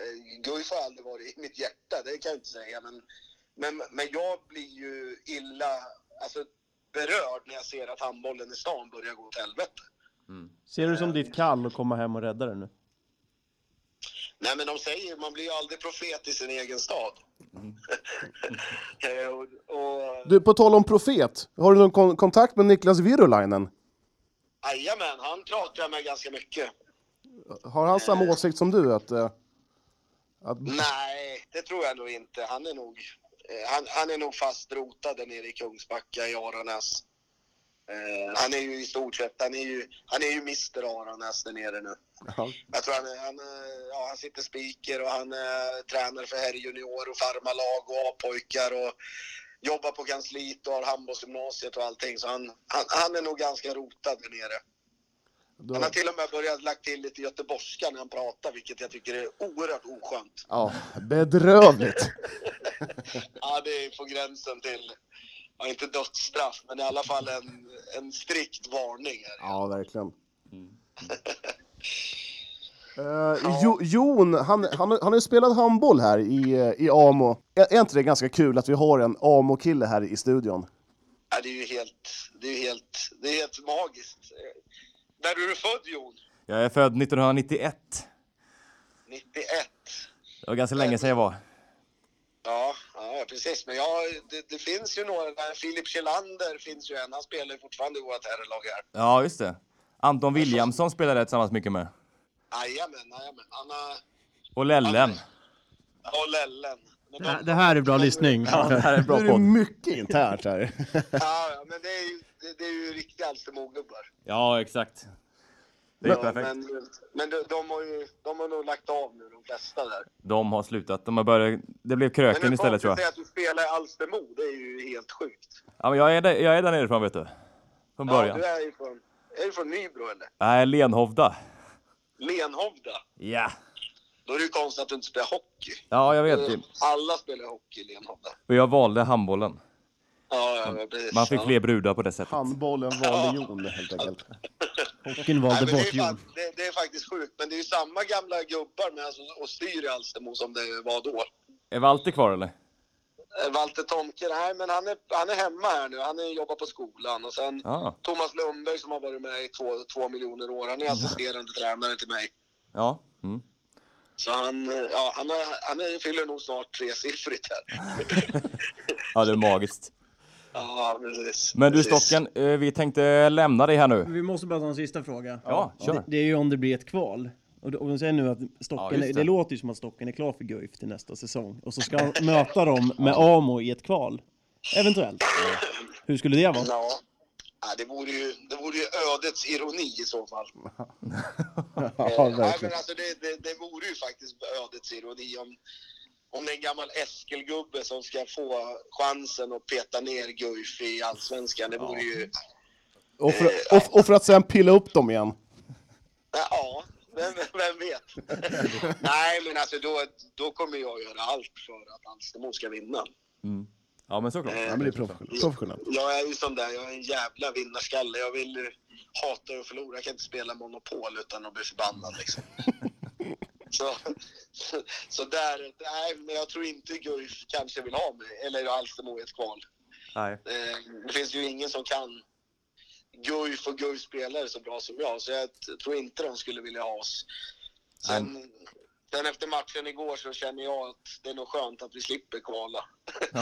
S6: eh, Guif har aldrig varit i mitt hjärta, det kan jag inte säga. Men, men, men jag blir ju illa, alltså berörd när jag ser att handbollen i stan börjar gå åt helvete.
S2: Ser du som ditt kall att komma hem och rädda det nu?
S6: Nej, men de säger man blir ju aldrig profet i sin egen stad. [laughs] Eh, och, och,
S3: Du, på tal om profet, har du någon kon- kontakt med Niklas Virulainen?
S6: jajamän, han pratar jag med ganska mycket.
S3: Har han samma åsikt som du? Att, eh, att... [laughs]
S6: Nej, det tror jag nog inte. Han är nog, eh, han, han är nog fast rotad där nere i Kungsbacka i Aranäs. Eh, han är ju i stort sett, han är ju, han är ju Mr Aranäs där nere nu. Jag tror han, är- han, eh, ja, han sitter speaker och han är tränare för herrjunior och farmarlag och A-pojkar och jobbar på kansliet och har handbollsgymnasiet och allting. Så han, han, han är nog ganska rotad där nere.
S3: Då-
S6: Han har till och med börjat lagt till lite göteborgska när han pratar, vilket jag tycker är oerhört oskönt.
S3: Ja, bedrövligt.
S6: Ja, det är på gränsen till, ja, inte dödsstraff, men i alla fall en, en strikt varning. Här.
S3: Ja, verkligen.
S6: Mm.
S3: Eh, jo, Jon, han, han, har- han har ju spelat handboll här i, eh, i Amo. Är, är inte det ganska kul att vi har en Amo-kille här i studion?
S6: Ja, det är ju helt, det är ju helt, det är helt magiskt. Eh, När du är född, Jon?
S1: Jag är född 1991.
S6: 91?
S1: Det var ganska länge sedan jag var.
S6: Ja, ja precis. Men ja, det, det finns ju några. där. Filip Kjellander finns ju en. Han spelar ju fortfarande i vårt herrlag här.
S1: Ja, just det. Anton Williamson spelade jag tillsammans mycket med.
S6: Jajamän, jajamän. Han har...
S1: Och Lellen.
S6: Och Lellen. Men de-
S2: här är bra lyssning.
S1: här är en bra podd.
S3: mycket internt här.
S6: ja, ja, men det är ju, det, det är ju riktiga Alstermogubbar.
S1: Ja, exakt. Det är
S6: Ja,
S1: perfekt.
S6: men men de, de, har ju, de har nog lagt av nu, de flesta där.
S1: De har slutat. De har börjat... Det blev
S6: Men
S1: kröken
S6: hur
S1: istället tror
S6: konstigt
S1: jag.
S6: är att du spelar i Alstermo, det är ju helt sjukt.
S1: Ja, men jag är där, jag är där nerifrån vet du. Från
S6: Ja,
S1: början.
S6: du är ju från, är du från Nybro eller?
S1: Nej, Lenhovda.
S6: Lenhovda?
S1: Ja.
S6: Då är det ju konstigt att du inte spelar hockey.
S1: Ja, jag
S6: Eh.
S1: vet. typ. det.
S6: Alla spelar hockey i Lenhovda.
S1: Men jag valde handbollen.
S6: Ja, ja, men precis.
S1: Man fick
S6: ja.
S1: fler brudar på det sättet.
S3: Handbollen valde Jon helt enkelt.
S2: Hockeyn
S6: Nej,
S2: valde
S6: men det, är
S2: bort
S6: ju
S2: Jon.
S6: fan, det, det är faktiskt sjukt, men det är ju samma gamla gubbar med alltså, och styr i Alstermo som det var då.
S1: Är Walter kvar eller?
S6: Eh, Walter Tomke, nej men han är, han är hemma här nu. Han är, jobbar på skolan och sen
S1: Ja.
S6: Thomas Lundberg som har varit med i två, två miljoner år.
S1: [laughs]
S6: Han är assisterande tränare till mig.
S1: Ja. Mm.
S6: Så han, eh, ja, han, är, han är, fyller nog snart tresiffrigt här.
S1: ja, det är magiskt.
S6: Ja, precis.
S1: Men du
S6: Precis.
S1: Stocken, eh, vi tänkte lämna dig här nu.
S2: Vi måste bara ta en sista fråga.
S1: Ja,
S2: Det,
S1: kör.
S2: det är ju om det blir ett kval. Och de- och de säger nu att
S1: Ja,
S2: Stocken,
S1: just
S2: det.
S1: det.
S2: låter ju som att Stocken är klar för Guif till nästa säsong. Och så ska han möta dem med Amo i ett kval. Eventuellt. Hur skulle det vara?
S6: Ja. Ja, det, vore ju, det vore ju ödets ironi i så fall.
S2: Ja,
S6: Eh, nej, men alltså det, det, det vore ju faktiskt ödets ironi om, om det är en gammal Eskilgubbe som ska få chansen att peta ner Guif i Allsvenskan. Det vore ju...
S3: Och för, och, och för att sen pilla upp dem igen.
S6: Ja, vem, vem
S1: [laughs]
S6: vet? nej, men alltså då, då kommer jag göra allt för att Alstermo ska vinna.
S1: Ja, men såklart.
S3: Ja, men det är professionellt. professionellt.
S6: Jag är ju sån där, jag är en jävla vinnarskalle. Jag vill ju hata och förlora. Jag kan inte spela Monopol utan att bli förbannad liksom. så, så där, nej, men jag tror inte Guif kanske vill ha mig, eller Alstermo i ett kval.
S1: Nej.
S6: Eh, Det finns ju ingen som kan Guif och Guifs spelare så bra som jag, så jag t- tror inte de skulle vilja ha oss. Sen, sen efter matchen igår så känner jag att det är nog skönt att vi slipper kvala. [laughs] det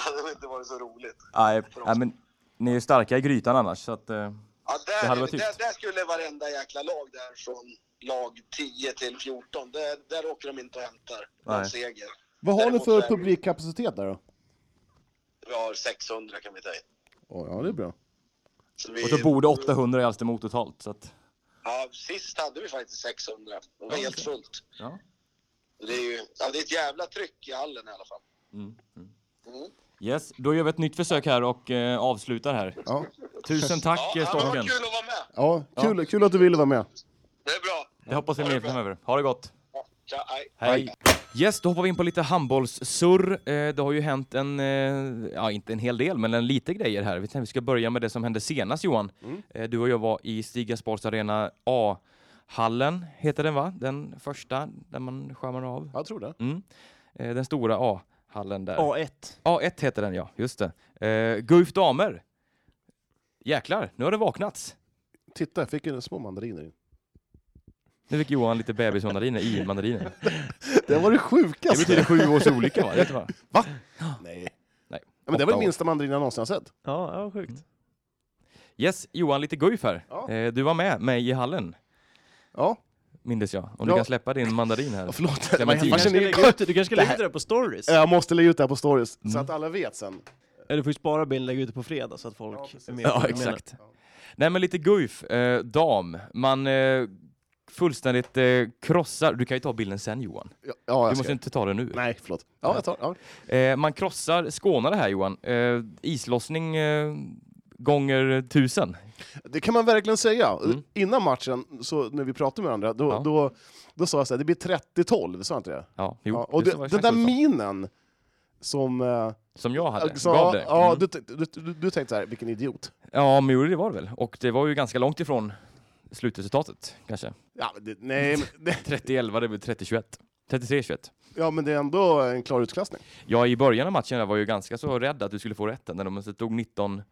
S6: hade inte varit så roligt.
S1: Nej, nej, men ni är ju starka i grytan annars, så att... eh,
S6: Ja, där,
S1: Det hade
S6: är-
S1: varit
S6: där,
S1: tyst.
S6: där skulle varenda jäkla lag där från lag 10 till 14, där, där åker de inte och hämtar någon
S1: Nej.
S6: seger.
S3: Vad har ni
S6: Däremot
S3: för
S6: så är-
S3: publikkapacitet där då?
S6: Vi har 600 kan vi ta in.
S3: Oh, ja, det är bra.
S6: Så vi-
S1: Och så bor det 800 i Alstermo totalt, så att...
S6: Ja, sist hade vi faktiskt 600. Det var helt fullt.
S1: Ja.
S6: Det är ju ja, det är ett jävla tryck i hallen i alla fall.
S1: Yes, då gör vi ett nytt försök här och eh, avslutar här.
S3: Ja.
S1: Tusen tack
S6: Ja,
S1: eh,
S6: ja, det var
S1: Stocken.
S6: kul att vara med.
S3: Ja, kul, kul att du ville vara med.
S6: Det är bra.
S1: Det hoppas vi mer framöver. Ha det gott.
S6: Ja, tja, hej.
S1: Hej! Yes, då hoppar vi in på lite handbollssurr. Eh, det har ju hänt en, eh, ja inte en hel del, men en lite grejer här. Vi tänkte vi ska börja med det som hände senast Johan. Eh, du och jag var i Stiga Sports Arena A-hallen, heter den va? Den första, där man skärmar av.
S3: Jag tror det.
S1: Mm. Eh, den stora A-hallen där.
S2: A1.
S1: A1 heter den ja, just det. Eh, Guif damer. Jäklar, nu har det vaknats.
S3: Titta, jag fick en små mandariner in.
S1: Nu fick Johan lite bebismandariner i mandariner.
S3: Det var det
S1: Det
S3: sjukaste!
S1: betyder sju års olika va? Vet du vad?
S3: Nej.
S1: Nej.
S3: Ja, men det var
S1: Åtta
S3: den
S1: år.
S3: minsta mandarinen jag någonsin har sett.
S2: Ja, ja, sjukt.
S1: Yes, Johan, lite Guif här.
S3: Ja.
S1: Eh, du var med mig i hallen,
S3: Ja,
S1: mindes jag. Om du
S3: Ja.
S1: kan släppa din mandarin här.
S3: [laughs] ja förlåt. Det var
S1: Clementin.
S2: Du kanske
S3: helt
S2: ska
S3: fascinerande.
S2: lägga ut, det- du kanske ska
S3: Det
S2: lägga
S3: här-
S2: ut det där på stories?
S3: Jag måste lägga ut det här på stories,
S1: Mm.
S3: så att alla vet sen.
S2: Eller du får ju spara bilden och lägga ut det på fredag så att folk
S3: precis.
S2: är med. på vad
S1: ja,
S2: du menar.
S1: exakt. Nej, men lite Guif, eh, dam. Man eh, fullständigt eh, krossar... Du kan ju ta bilden sen, Johan.
S3: Ja, ja
S1: Du
S3: jag
S1: måste
S3: ska.
S1: inte ta den nu.
S3: Nej, förlåt. Ja, jag tar. Ja.
S1: Eh, man krossar skånare här, Johan. Eh, islossning eh, gånger tusen.
S3: Det kan man verkligen säga.
S1: Mm.
S3: Innan matchen, så när vi pratade med varandra, då,
S1: Ja.
S3: då, då sa jag så här, det blir 30-12, sa jag inte det?
S1: Ja, jo,
S3: ja, och
S1: det
S3: det,
S1: var
S3: den
S1: exakt
S3: där
S1: så.
S3: minen som... eh,
S1: Som jag hade.
S3: som-
S1: Gav det.
S3: ja,
S1: Mm.
S3: du, tänkte- du, du, du tänkte så här, vilken idiot.
S1: ja, men jo, det var det väl. Och det var ju ganska långt ifrån slutresultatet, kanske.
S3: Ja, men det,
S1: [laughs]
S3: nej, men det,
S1: 30-11, det blev 30-21. 33-21.
S3: ja, men det är ändå en klar utklassning.
S1: Ja, i början av matchen där var jag ju ganska så rädd att du skulle få rätten när de tog 19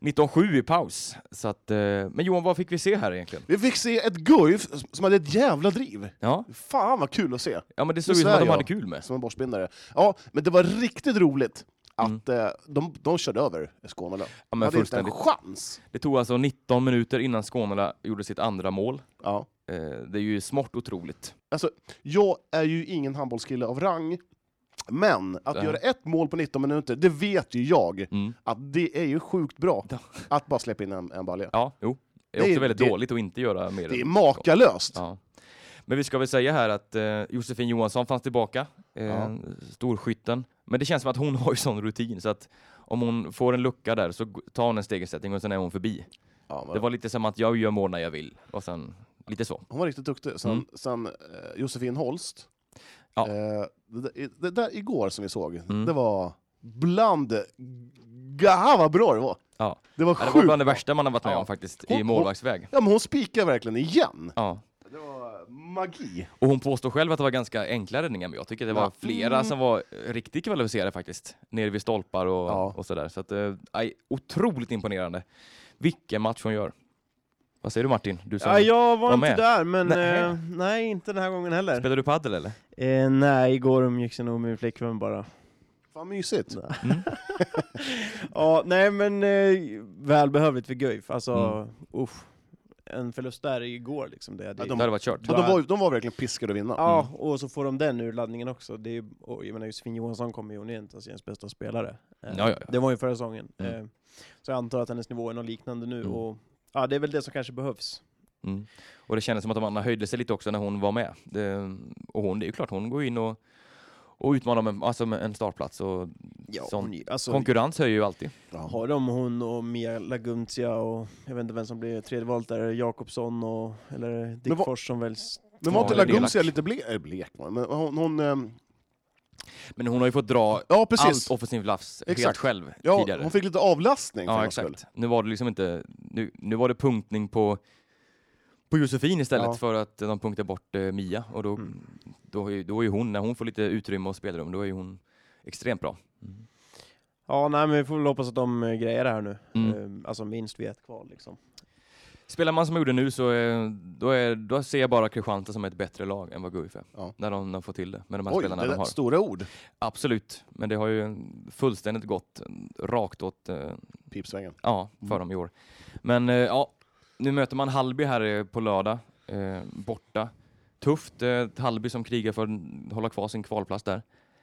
S1: 19-7 i paus. Så att, eh, men Johan, vad fick vi se här egentligen?
S3: Vi fick se ett Guif som hade ett jävla driv.
S1: Ja,
S3: Fan vad kul att se,
S1: ja men det såg ut som
S3: svär
S1: att de
S3: jag.
S1: hade kul med.
S3: som en borstbindare. Ja, men det var riktigt roligt att eh, de, de körde över Skåne.
S1: Mm. Ja,
S3: De
S1: men
S3: hade inte en
S1: fullständigt.
S3: chans.
S1: Det tog alltså 19 minuter innan Skånela gjorde sitt andra mål.
S3: Ja.
S1: Eh, det är ju smått otroligt.
S3: Alltså, jag är ju ingen handbollskille av rang, men att
S1: Nej.
S3: göra ett mål på 19 minuter, det vet ju jag
S1: Mm.
S3: att det är ju sjukt bra
S1: Ja.
S3: att bara släppa in en, en balja.
S1: Ja, jo. Det är
S3: Det är-
S1: också väldigt
S3: det-
S1: dåligt att inte göra mer.
S3: Det är
S1: än-
S3: makalöst!
S1: Ja. Men vi ska väl säga här att eh, Josefin Johansson fanns tillbaka, eh,
S3: Ja.
S1: storskytten. Men det känns som att hon [laughs] har ju sån rutin så att om hon får en lucka där så g- tar hon en stegersättning och sen är hon förbi.
S3: Ja, men
S1: Det var lite som att jag gör mål när jag vill och sen lite så.
S3: Hon var riktigt duktig. Sen,
S1: Mm.
S3: sen eh, Josefin Holst,
S1: Ja.
S3: eh, det, där- det där igår som vi såg,
S1: Mm.
S3: det var bland... Gaha vad bra det var!
S1: Ja.
S3: Det var
S1: Ja, Det var
S3: sjukt!
S1: bland det värsta man har varit med
S3: Ja.
S1: om faktiskt
S3: Hon-
S1: i
S3: hon-
S1: målvaktsväg.
S3: Ja, men hon spikar verkligen igen!
S1: Ja.
S3: Det var, magi.
S1: Och hon påstår själv att det var ganska enkla räddningar, men jag tycker det var flera som var eh, riktigt kvalificerade faktiskt. Nere vid stolpar och,
S2: Ja.
S1: och sådär. Så att, eh, aj, otroligt imponerande. Vilken match hon gör. Vad säger du Martin? Du som...
S2: Ja, jag var,
S1: var
S2: inte
S1: med.
S2: där, men
S1: Nej.
S2: nej. nej, inte den här gången heller.
S1: Spelar du padel eller?
S2: Eh, nej, igår umgicks jag nog med min flickvän bara.
S3: Vad mysigt.
S1: Mm.
S2: Ja, nej men eh, välbehövligt för Guif. Alltså,
S1: Mm.
S2: usch. En förlust där igår liksom. Det hade
S3: Ja,
S1: Det hade varit kört.
S3: Ja, de, var, de var verkligen piskade att vinna.
S2: Ja,
S1: Mm.
S2: och så får de den urladdningen också. Det är, och jag menar, Josefin Johansson kommer ju hon är inte ens ens bästa spelare. Eh,
S1: Ja, ja, ja.
S2: Det var ju förra säsongen.
S1: Mm.
S2: Eh, Så jag antar att hennes nivå är något liknande nu.
S1: Mm.
S2: Och, ja, det är väl det som kanske behövs.
S1: Mm. Och det kändes som att de andra höjde sig lite också när hon var med. Det, och hon, det är ju klart, hon går in och, och utmanar med, alltså med en startplats. Och Sån
S2: hon, alltså,
S1: konkurrens höjer ju alltid.
S2: har de hon och Mia Laguntia och jag vet inte vem som blir tredje valet där, Jakobsson och, eller Dick
S3: Men vad-
S2: Fors som väljs.
S3: Men var
S1: Ja,
S3: inte
S1: det är
S3: Lagumsia
S1: elakt.
S3: lite ble, eh, blek? va? Men hon, hon, ehm,
S1: Men hon har ju fått dra
S3: ja, precis.
S1: allt offensivt lafs helt
S3: Exakt.
S1: själv
S3: Ja,
S1: tidigare.
S3: hon fick lite avlastning. för
S1: Ja,
S3: hennes skull.
S1: exakt. Nu var det liksom inte... Nu, nu var det punktning på, på Josefin istället
S2: Ja.
S1: för att de punktade bort eh, Mia. Och då,
S2: Mm.
S1: då, är ju- då är ju hon, när hon får lite utrymme och spelrum, då är ju hon extremt bra.
S2: Ja, nej men vi får väl hoppas att de eh, grejer det här nu.
S1: Mm.
S2: Eh, Alltså minst vid ett kval liksom.
S1: Spelar man som jag gjorde nu så eh, då, är, då ser jag bara Kristianstad som ett bättre lag än vad Guif är.
S3: Ja.
S1: När de, de får till det med de här
S3: Oj, det
S1: spelarna
S3: där
S1: de har.
S3: stora ord.
S1: Absolut, men det har ju fullständigt gått eh, rakt åt eh,
S3: Pipsvängen.
S1: Ja, för dem i år. Men eh, ja, nu möter man Hallby här eh, på lördag, eh, borta. Tufft, eh, Hallby som krigar för att hålla kvar sin kvalplats där.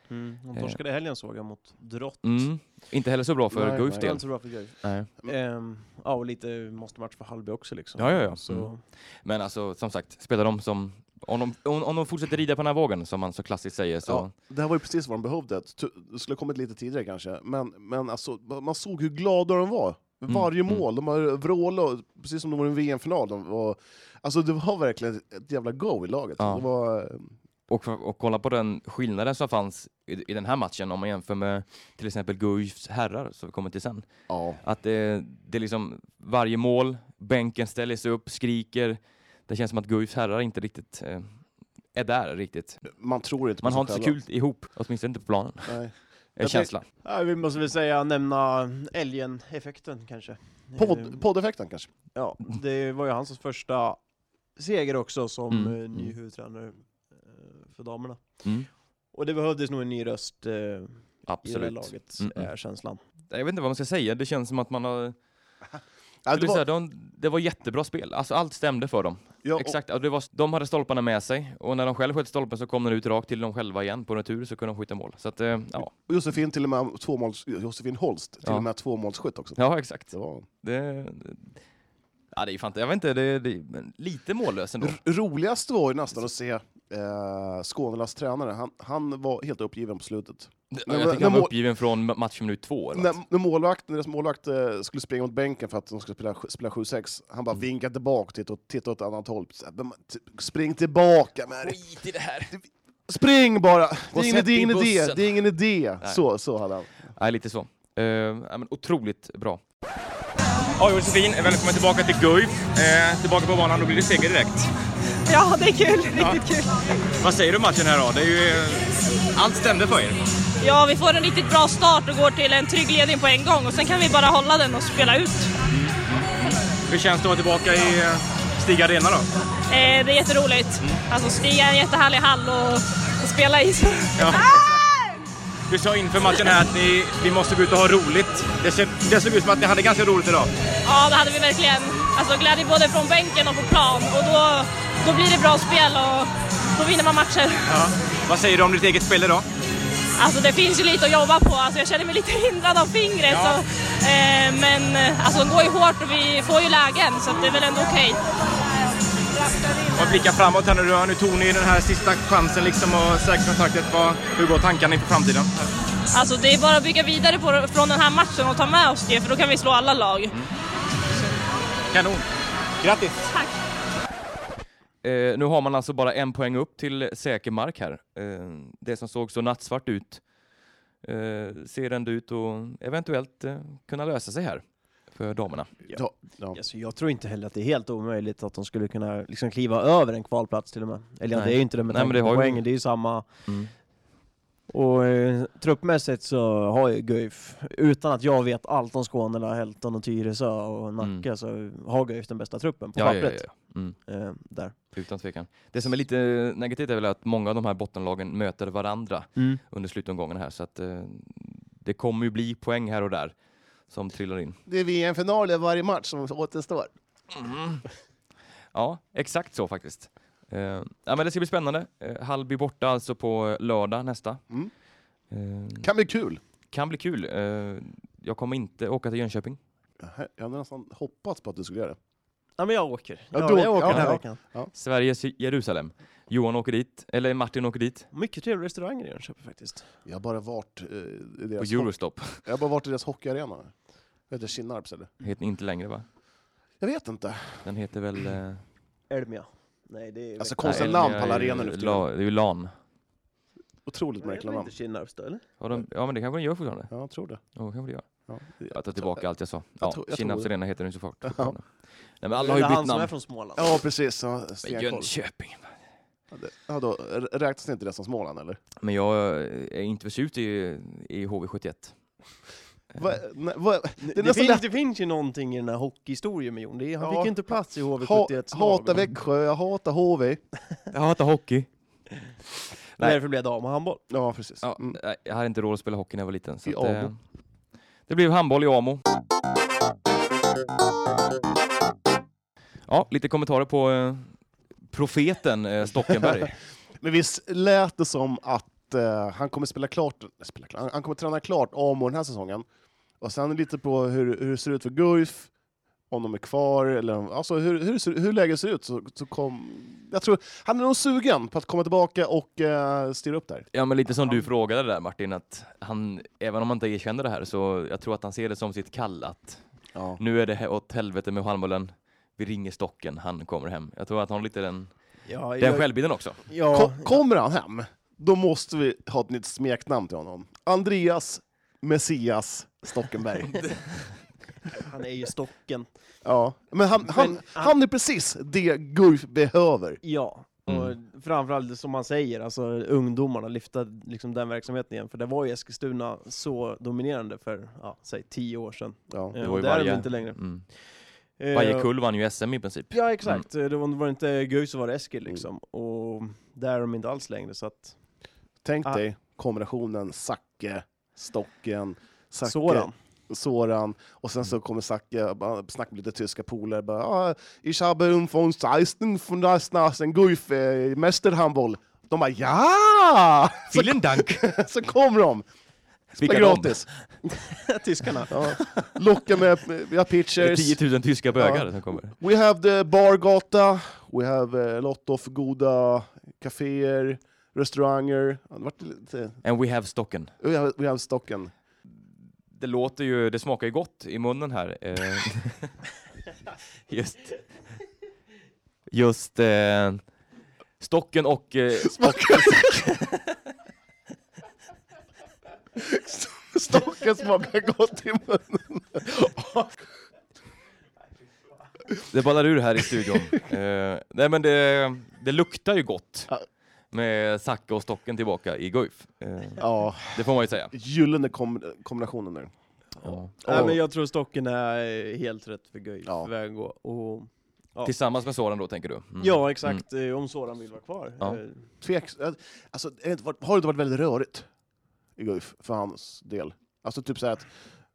S2: Mm. De
S1: Eh.
S2: torskade i helgen såg jag mot Drott.
S1: Mm. Inte heller så bra för
S3: Nej,
S1: Guifs
S3: nej.
S2: Det är
S1: del.
S2: inte så bra för Guif.
S1: Nej.
S2: Ehm, ja, och lite måste match för Hallby också liksom.
S1: Ja, ja, ja.
S2: Så,
S1: Mm. Men alltså, som sagt, spelar de som... Om de, om, om de fortsätter rida på den här vågen, som man så klassiskt säger, så...
S3: Ja, det här var ju precis vad de behövde. Tu- Det skulle ha kommit lite tidigare kanske, men, men alltså, man såg hur glada de var.
S1: Mm,
S3: Varje
S1: mm.
S3: mål, de har vrålat, precis som det vore en VM-final. De var, alltså det var verkligen ett jävla go i laget.
S1: Ja.
S3: Det var,
S1: Och, och kolla på den skillnaden som fanns i, i den här matchen om man jämför med till exempel Guifs herrar, som vi kommer till sen.
S3: ja.
S1: Att det, det är liksom varje mål, bänken ställer sig upp, skriker. Det känns som att Guifs herrar inte riktigt eh, är där riktigt.
S3: Man tror inte på
S1: Man har
S3: sig
S1: inte så
S3: själva.
S1: kul ihop, åtminstone inte på planen. [laughs]
S3: Nej.
S1: Är
S3: Jag
S1: känslan.
S2: ja, vi måste väl säga nämna Elgen-effekten kanske. Ehm,
S3: Podd, poddeffekten kanske.
S2: ja, det var ju hans första seger också som
S1: Mm,
S2: eh, ny
S1: mm.
S2: huvudtränare eh, för damerna.
S1: Mm.
S2: Och det behövdes nog en ny röst eh, i det här
S1: Absolut.
S2: laget,
S1: Mm,
S2: är
S1: mm.
S2: känslan.
S1: Jag vet inte vad man ska säga, det känns som att man har...
S3: Ja,
S1: det,
S3: det
S1: var...
S3: var,
S1: de, det var jättebra spel, alltså, allt stämde för dem.
S3: ja, och-
S1: Exakt, och det var, de hade stolparna med sig och när de själva sköt stolpen så kom den ut rakt till dem själva igen på retur så kunde de skjuta mål. Så att, eh, ja.
S3: och Josefin, till och med tvåmåls, Josefin Holst, till
S1: Ja.
S3: och med tvåmålsskytt också.
S1: ja, exakt.
S3: Det var
S1: Det, ja, det är fan, jag vet inte, det, det, men lite mållös ändå.
S3: R- roligast var ju nästan att se eh, Skånelas tränare, han, han var helt uppgiven på slutet.
S1: Ja,
S3: men-
S1: jag tycker
S3: men
S1: han var
S3: mål-
S1: uppgiven från ma- matchminut två. Eller
S3: När,
S1: något.
S3: när målvakten, deras målvakt eh, skulle springa mot bänken för att de skulle spela, spela 7-6, han
S1: Mm.
S3: bara vinkade tillbaka titta och tittade åt ett annat håll. Så här, "Men, t- Spring tillbaka med dig.
S1: Skit i det här!
S3: Spring bara! Det
S1: Och
S3: är ingen,
S1: sätt
S3: det är
S1: i
S3: ingen idé,
S1: bussen.
S3: det är ingen idé!
S1: Nej.
S3: Så, så hade han.
S1: Nej, lite så. Eh, ja, men otroligt bra. Ja, Josefin, välkommen tillbaka till Guif. tillbaka på banan, då blir det seger direkt.
S7: Ja, det är kul. Riktigt kul.
S1: Vad säger du om matchen här då? Det är ju, eh, allt stämde för er.
S7: Ja, vi får en riktigt bra start och går till en trygg ledning på en gång och sen kan vi bara hålla den och spela ut.
S1: Hur känns det att vara tillbaka i eh, Stig Arena då? Mm.
S7: Eh, det är jätteroligt. Alltså Stig är en jättehärlig hall och, och spela i.
S1: Du sa inför matchen här att ni, vi måste gå ut och ha roligt. Det, ser, det såg ut som att ni hade ganska roligt idag.
S7: Ja, det hade vi verkligen. Alltså glädje både från bänken och på plan och då, då blir det bra spel och då vinner man matcher.
S1: Vad säger du om ditt eget spel idag?
S7: Alltså det finns ju lite att jobba på. Alltså, jag känner mig lite hindrad av fingret.
S1: Ja.
S7: Så, eh, men eh, alltså de går ju hårt och vi får ju lägen så att det är väl ändå okej.
S1: Och blicka framåt här nu. Nu tog ni den här sista chansen liksom och säkra kontraktet. Hur går tankarna inför framtiden?
S7: Alltså det är bara att bygga vidare på, från den här matchen och ta med oss det för då kan vi slå alla lag.
S1: Kanon! Grattis!
S7: Tack.
S1: Eh, nu har man alltså bara en poäng upp till säker mark här. Eh, det som såg så nattsvart ut eh, ser ändå ut att eventuellt eh, kunna lösa sig här. för damerna.
S2: Ja. Alltså, jag tror inte heller att det är helt omöjligt att de skulle kunna liksom kliva över en kvalplats till och med. Eller ja,
S1: Nej.
S2: det är ju inte det med
S1: Nej, men
S2: tanke
S1: det
S2: på
S1: har ju-
S2: poängen, det är ju samma.
S1: Mm.
S2: Och eh, truppmässigt så har ju Guif, utan att jag vet allt om Skånela, Hälton och Tyresö och Nacka, så har Guif den bästa truppen på
S1: Mm. Ja, ja, ja,
S2: pappret.
S1: ja. Mm.
S2: Eh, där.
S1: Utan tvekan. Det som är lite negativt är väl att många av de här bottenlagen möter varandra
S2: Mm.
S1: under slutomgången här så att eh, det kommer ju bli poäng här och där som trillar in.
S8: Det är VM-finaler varje match som återstår.
S1: Ja, exakt så faktiskt. Eh, ja, men det ska bli spännande. Eh, Hallby borta alltså på lördag nästa.
S3: Mm.
S1: Eh,
S3: Kan bli kul.
S1: kan bli kul. Eh, jag kommer inte åka till Jönköping.
S3: Jag hade nästan hoppats på att du skulle göra det.
S2: Ja men jag åker.
S3: Ja,
S2: Ja,
S3: du
S2: jag åker
S3: åker.
S2: den här
S3: Ja, ja.
S2: veckan.
S1: Sveriges Jerusalem. Johan åker dit, eller Martin åker dit
S2: Mycket trevliga restauranger i Jönköping faktiskt.
S3: Jag har bara varit, eh, i
S1: på
S3: deras, ho-
S1: Eurostop.
S3: jag har bara varit i deras hockeyarena. Vad Heter det Kinnarps eller?
S1: Heter inte längre va?
S3: Jag vet inte.
S1: Den heter väl... eh,
S2: Elmia. Nej det är...
S3: Alltså
S2: Veckan.
S3: konstiga
S1: nej,
S3: namn på
S1: Elmia
S3: alla
S1: är ju
S3: arenor nu för tiden.
S1: la- Det är ju LAN.
S3: Otroligt
S2: Nej, det
S3: märkliga
S2: är
S3: namn.
S2: inte Kinnarps då eller?
S1: Ja, de, ja men det kanske den gör fortfarande.
S3: Ja, jag tror det.
S1: Ja, det kanske det gör.
S3: Ja.
S1: Jag tar tillbaka allt jag sa.
S3: jag
S1: Ja,
S3: tror- jag
S1: Kinnarps
S3: tror det.
S1: arena heter den så fort.
S3: Ja.
S1: fortfarande. Nej men alla har ju
S2: Eller han
S1: bytt
S2: som är
S1: namn.
S2: från Småland.
S3: Ja, precis. Ja,
S1: Men
S3: stenkoll.
S1: Jönköping.
S3: Ja, då, r- räknas inte det som Småland eller?
S1: Men jag eh, är inte förtjust i, i HV71.
S3: Va, nej, va,
S2: Det,
S3: är
S2: det,
S3: nästan
S2: finns,
S3: lätt-
S2: det finns ju någonting i den här hockeyhistorien med Jon. Det är, han
S3: Ja.
S2: fick ju inte plats i hv 71
S3: ha, hatar Växjö, jag hatar HV.
S1: Jag hatar hockey. Nej.
S2: Därför blev det av med handboll.
S3: Ja, precis.
S1: Ja,
S3: Mm.
S1: nej, Jag hade inte råd att spela hockey när jag var liten. Så
S3: I
S1: att, eh,
S3: Amo.
S1: det blev handboll i Amo. Ja, lite kommentarer på eh, profeten eh, Stockenberg.
S3: Men visst lät det som att eh, han kommer spela klart, spela klart han, han kommer träna klart Amo den här säsongen. Och sen lite på hur, hur det ser ut för Guif, om de är kvar, eller om- alltså hur, hur, det ser- hur läget ser ut. Så, så kom, jag tror, han är nog sugen på att komma tillbaka och eh, styra upp där.
S1: ja, men lite som du frågade där Martin, att han, även om han inte erkänner det här, så jag tror att han ser det som sitt kall att
S3: Ja.
S1: nu är det he- åt helvete med handbollen. Vi ringer Stocken, han kommer hem. Jag tror att han har lite den,
S2: Ja,
S1: den självbilden också.
S2: ja,
S3: Ko- kommer han hem, då måste vi ha ett nytt smeknamn till honom. Andreas Messias Stockenberg.
S2: [laughs] han är ju stocken.
S3: ja. Men han, han,
S2: Men ah. han-
S3: han är precis det Guif behöver.
S2: Ja.
S1: Mm.
S2: Och framförallt som man säger, alltså ungdomarna lyfta liksom den verksamheten igen. För det var ju Eskilstuna så dominerande för, ja, säg tio år sedan.
S3: Ja.
S2: Eh,
S1: var
S2: och
S1: ju
S2: där är de
S1: varje-
S2: inte längre.
S1: Mm.
S2: Eh,
S1: Varje Mm. kull vann ju SM i princip.
S2: Ja exakt, Eh, det var, det var inte Guif så var det Eskil liksom. Och där är de inte alls längre så att,
S3: Tänk
S2: Ah.
S3: dig kombinationen Zacke, Stocken, Zacke,
S1: eh,
S2: sådan.
S3: Soran. Och sen så kommer Zacke bara snacka med lite tyska polare. bara, "Ah, Ich habe um von Seisten von der Snasen Guif eh, Mästerhandboll. De bara ja! [laughs] Så,
S1: Vielen Dank! [laughs]
S3: så kommer de!
S1: Vilka
S3: Vilka
S1: de?
S3: gratis! [laughs]
S2: Tyskarna.
S3: Ja. Locka med, vi har
S1: Det är
S3: pitchers.
S1: 10 000 tyska bögar
S3: Ja.
S1: som kommer.
S3: We have the bargata, we have a lot of goda kaféer, restauranger. Ja, det vart lite- Oh,
S1: And we have Stocken.
S3: We have, we have Stocken.
S1: det låter ju, det smakar ju gott i munnen här. eh. [laughs] just just eh, stocken och... Eh,
S3: [laughs] Stocken smakar gott i munnen.
S1: det ballar ur här i studion. Eh, nej men det, det luktar ju gott med Zacke och stocken tillbaka i Guif. Eh,
S3: Ja,
S1: det får man ju säga.
S3: gyllene kom- kombinationen nu.
S1: Ja.
S2: Nej, men jag tror stocken är eh, helt rätt för Guif,
S3: Ja.
S2: väg att gå. Och,
S1: Tillsammans med Soran då, tänker du? Mm.
S2: Ja exakt, eh, om Soran vill vara kvar.
S1: Ja.
S2: Eh,
S3: Tveks, alltså, är det inte varit- har det inte varit väldigt rörigt i Guif för hans del? Alltså typ så här att...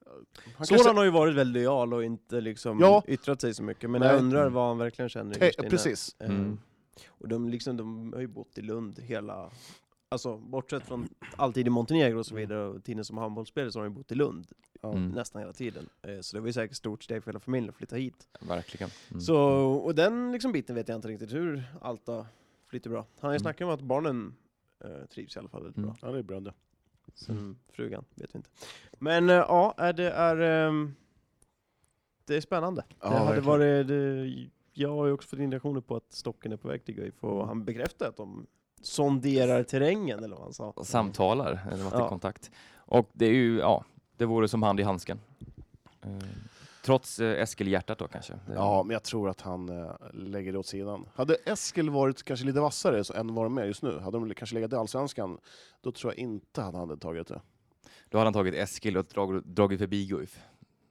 S3: Han kanske-
S2: Soran har ju varit väldigt lojal och inte liksom
S3: Ja.
S2: yttrat sig så mycket, men
S3: Nej.
S2: jag undrar vad han verkligen känner
S3: Eh,
S2: innerst inne.
S3: Precis.
S2: Eh,
S1: Mm.
S2: Och de, liksom, de har ju bott i Lund hela, alltså bortsett från alltid i Montenegro och så vidare, och tiden som handbollsspelare så har de ju bott i Lund
S1: Mm,
S2: nästan hela tiden. Eh, Så det var ju säkert ett stort steg för hela familjen att flytta hit.
S1: verkligen. Mm.
S2: Så, och den liksom biten vet jag inte riktigt hur allt har flyttat bra. Han har ju
S1: Mm.
S2: snackat om att barnen eh, trivs i alla fall väldigt
S1: Mm.
S2: bra.
S3: Ja, det är bra det.
S2: Sen frugan, vet vi inte. Men eh, ja, eh, det är... ehm, det är spännande.
S3: Ja,
S2: det hade
S3: verkligen.
S2: varit, det, jag har ju också fått indikationer på att Stocken är på väg till Guif
S1: Mm.
S2: och han bekräftade att de sonderar terrängen eller vad han sa.
S1: Samtalar, eller man tar
S2: Ja.
S1: kontakt. Och det är ju, ja, det vore som hand i handsken. Eh, Trots eh, Eskil-hjärtat då kanske? Det-
S3: Ja, men jag tror att han eh, lägger det åt sidan. Hade Eskil varit kanske lite vassare så- än vad de är just nu, hade de kanske legat i Allsvenskan, då tror jag inte att han hade tagit det.
S1: Då hade han tagit Eskil och drag, dragit förbi Guif.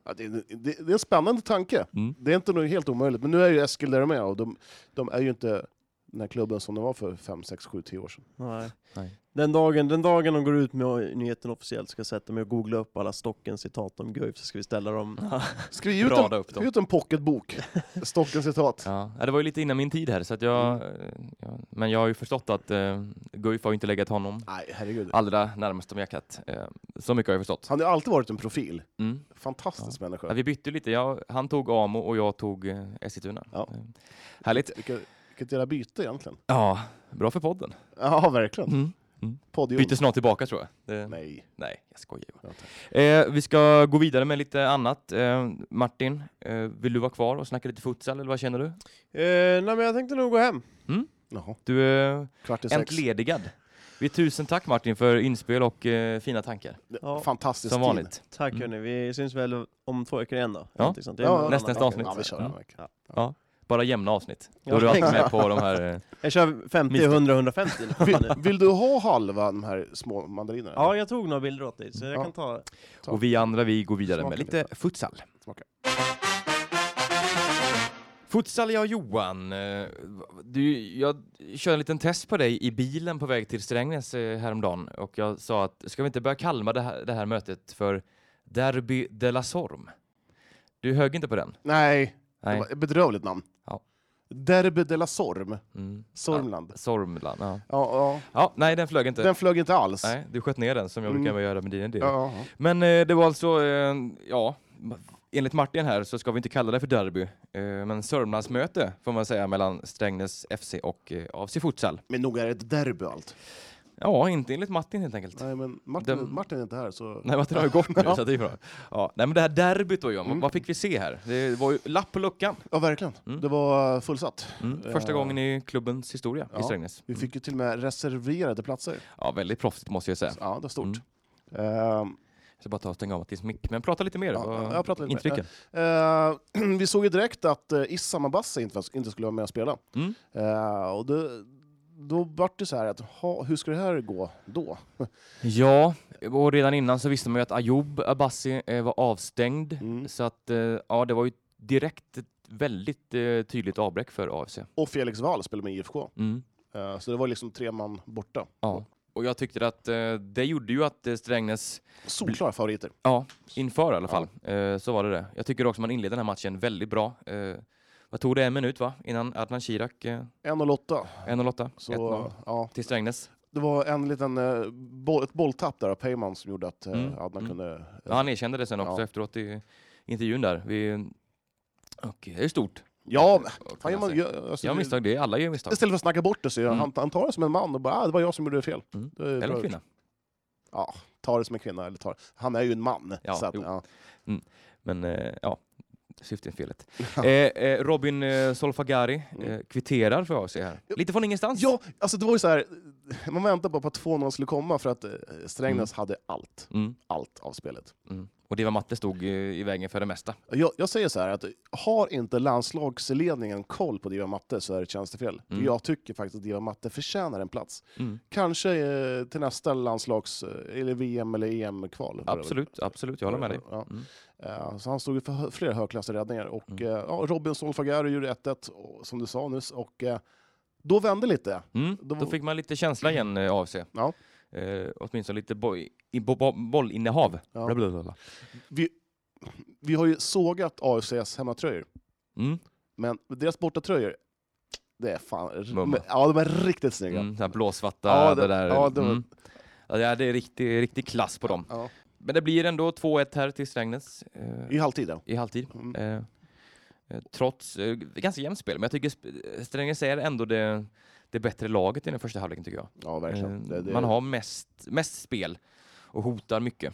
S3: Ja, det, det, det är en spännande tanke.
S1: Mm.
S3: Det är inte nog helt omöjligt, men nu är ju Eskil där de är och de, de är ju inte den här klubben som de var för 5, 6, 7, 10 år sedan.
S2: Nej.
S1: Nej.
S2: Den, dagen, den dagen de går ut med nyheten officiellt ska jag sätta mig och googla upp alla Stockens citat om Guif så ska vi ställa dem.
S3: Skriv ut,
S1: Rada
S3: en,
S1: upp dem.
S3: skriv ut en pocketbok, Stockens citat.
S1: Ja, ja, det var ju lite innan min tid här, så att jag, eh, ja, men jag har ju förstått att eh, Guif har ju inte legat honom
S3: Nej, herregud.
S1: allra närmast om hjärtat. Eh, så mycket har jag förstått.
S3: Han har ju alltid varit en profil.
S1: Mm.
S3: Fantastisk människa.
S1: Ja, vi bytte lite. Jag, han tog Amo och jag tog eh, Eskilstuna.
S3: Ja.
S1: Eh, Härligt.
S3: Vilket, vilket jävla byte egentligen.
S1: Ja, bra för podden.
S3: Ja, verkligen.
S1: Mm.
S3: Podium.
S1: Byter snart tillbaka tror jag. Det-
S3: Nej.
S1: Nej, jag skojar ju.
S3: Ja,
S1: eh, vi ska gå vidare med lite annat. Eh, Martin, eh, vill du vara kvar och snacka lite futsal eller vad känner du?
S2: Eh, nej men jag tänkte nog gå hem.
S3: Jaha,
S1: Du är
S3: kvart i sex.
S1: entledigad. Vi tusen tack Martin för inspel och eh, fina tankar.
S2: Ja.
S3: Fantastisk
S1: Som
S3: tid.
S1: vanligt.
S2: Tack
S1: Mm.
S2: hörni, vi syns väl om två veckor igen då?
S1: Ja.
S2: Någonting sånt. Det är
S3: Ja,
S2: någon
S1: nästa
S2: annan.
S1: avsnitt. Mm.
S3: Ja, vi kör.
S2: Ja.
S3: Ja.
S1: Bara jämna avsnitt. Då
S2: Ja,
S1: är du alltid
S2: exakt.
S3: [laughs]
S1: med på de här... Eh,
S2: Jag kör 50,
S1: Misstag.
S2: 100,
S1: [laughs]
S2: 150 nu.
S3: Vill, vill du ha halva de här små mandarinerna?
S2: Ja, jag tog några bilder åt dig så jag
S3: Ja.
S2: kan ta
S1: och vi andra, vi går vidare
S3: Smaka
S1: med lite
S3: lite.
S1: futsal.
S3: Smaka.
S1: Futsal, ja Johan. eh, Du, jag körde en liten test på dig i bilen på väg till Strängnäs eh, häromdagen och jag sa att ska vi inte börja kalma det här, det här mötet för Derby de la Sorm? Du högg inte på den?
S3: Nej, det
S1: Nej.
S3: var ett bedrövligt namn.
S1: Ja.
S3: Derby de la Sorm,
S1: Mm.
S3: Sormland.
S1: Ja, Sormland, ja.
S3: Ja,
S1: ja. Nej, den flög inte.
S3: ja. Den flög inte alls.
S1: Nej, du sköt ner den som jag
S3: Mm.
S1: brukar göra med dina idéer.
S3: Ja, ja.
S1: Men eh, det var alltså, eh, ja, enligt Martin här så ska vi inte kalla det för derby, eh, men Sörmlandsmöte får man säga mellan Strängnäs FC och eh, AFC Futsal.
S3: Men nog är det ett derby allt.
S1: Ja, inte enligt Martin helt enkelt. Nej,
S3: Nej, men Martin,
S1: Den-
S3: Martin är inte här så...
S1: Martin har ju gått nu
S3: [laughs] Ja.
S1: så att det är bra. Ja, nej men det här derbyt då
S3: Mm.
S1: Johan, vad fick vi se här? Det var ju lapp på luckan.
S3: Ja, verkligen.
S1: Mm.
S3: Det var fullsatt.
S1: Mm. Första
S3: Ja.
S1: gången i klubbens historia i
S3: Ja.
S1: Strängnäs.
S3: Vi fick ju till och med reserverade platser.
S1: Ja, Mm. väldigt proffsigt måste jag säga.
S3: Så, Ja, det var stort. Ehm,
S1: Jag ska bara ta och stänga av Mattias mick, men prata lite mer.
S3: Ja,
S1: vad-
S3: jag pratar lite mer.
S1: intrycken.
S3: Eh, [clears throat] vi såg ju direkt att uh, Issam Abassi inte, inte skulle vara med och spela.
S1: Mm.
S3: Eh, och det, då vart det så här att, ha, hur ska det här gå då?
S1: Ja, och redan innan så visste man ju att Ayoub Abassi eh, var avstängd.
S3: Mm.
S1: Så att, eh, ja, det var ju direkt ett väldigt eh, tydligt avbräck för AFC.
S3: Och Felix Wahl spelade med IFK.
S1: Mm.
S3: Eh, så det var liksom tre man borta.
S1: Ja. Och jag tyckte att eh, det gjorde ju att eh, Strängnäs,
S3: Solklara favoriter.
S1: ja, inför i alla fall, eh, så var det det. Jag tycker också man inledde den här matchen väldigt bra. Eh, vad tog det, en minut va? Innan Adnan Shirak, eh,
S3: 1-8.
S1: 1-8,
S3: Så
S1: 1-0
S3: ja,
S1: till Strängnäs.
S3: det var en liten, eh, boll, ett bolltapp där av Peyman som gjorde att eh,
S1: Mm.
S3: Adnan
S1: Mm.
S3: kunde... eh,
S1: Ja, han erkände det sen också
S3: Ja.
S1: efteråt i intervjun där. Vi, och det är ju stort.
S3: ja, men
S1: att kunna
S3: fan, man,
S1: säga.
S3: gör- alltså,
S1: Jag misstag det, alla gör misstag.
S3: Istället för att snacka bort det så gör
S1: Mm.
S3: han, han tar det som en man och bara ah, det var jag som gjorde fel.
S1: Mm.
S3: Det är
S1: Eller
S3: bra
S1: en
S3: gjort.
S1: kvinna.
S3: ja, ta det som en kvinna. Eller ta, han är ju en man.
S1: Ja,
S3: så att,
S1: jo.
S3: ja.
S1: Men eh, ja, syftet
S3: [laughs]
S1: är felet. eh, eh, Robin eh, Solfagari eh, kvitterar för AFC här. Lite från ingenstans.
S3: Mm. ja, alltså det var ju så här. Man väntade bara på att 2-0 skulle komma för att eh, Strängnäs hade allt,
S1: Mm,
S3: allt av spelet.
S1: mm. Och det var Matte stod eh, i vägen för det mesta.
S3: Jag, jag säger så här att har inte landslagsledningen koll på Diva Matte så är det ett tjänstefel. För
S1: Mm.
S3: Jag tycker faktiskt att Diva Matte förtjänar en plats.
S1: Mm.
S3: Kanske eh, till nästa landslags, eh, eller VM eller E EM-kval.
S1: Absolut, absolut. Jag håller med dig.
S3: Ja.
S1: Mm.
S3: Eh, Så han stod ju för hö- flera högklassiga räddningar. Och eh, ja, Robin Solfagaro gjorde 1-1, och- som du sa nyss. Och eh, då vände lite.
S1: Mm.
S3: Då-
S1: Då fick man lite känsla igen, eh, AFC.
S3: Mm. Ja.
S1: Eh, åtminstone lite boj, i, bo, bo, bollinnehav.
S3: Ja.
S1: Bla, bla, bla, bla.
S3: Vi, vi har ju sågat AFCs hemmatröjor,
S1: Mm.
S3: men deras bortatröjor, det är fan...
S1: Mumma.
S3: Ja, de är riktigt snygga.
S1: Mm. så här Blåsvarta,
S3: Ja,
S1: det,
S3: det-
S1: där.
S3: ja, det var-
S1: mm. Ja, det är- det är riktig, riktig klass på dem.
S3: Ja.
S1: Men det blir ändå 2-1 här till Strängnäs. Eh,
S3: I halvtid, ja.
S1: i halvtid.
S3: Mm.
S1: Eh, eh, trots eh, ganska jämnt spel, men jag tycker sp- eh, Strängnäs är ändå det, det bättre laget i den första halvleken tycker jag.
S3: Ja, verkligen.
S1: Eh,
S3: det, det,
S1: Man har mest, mest spel och hotar mycket.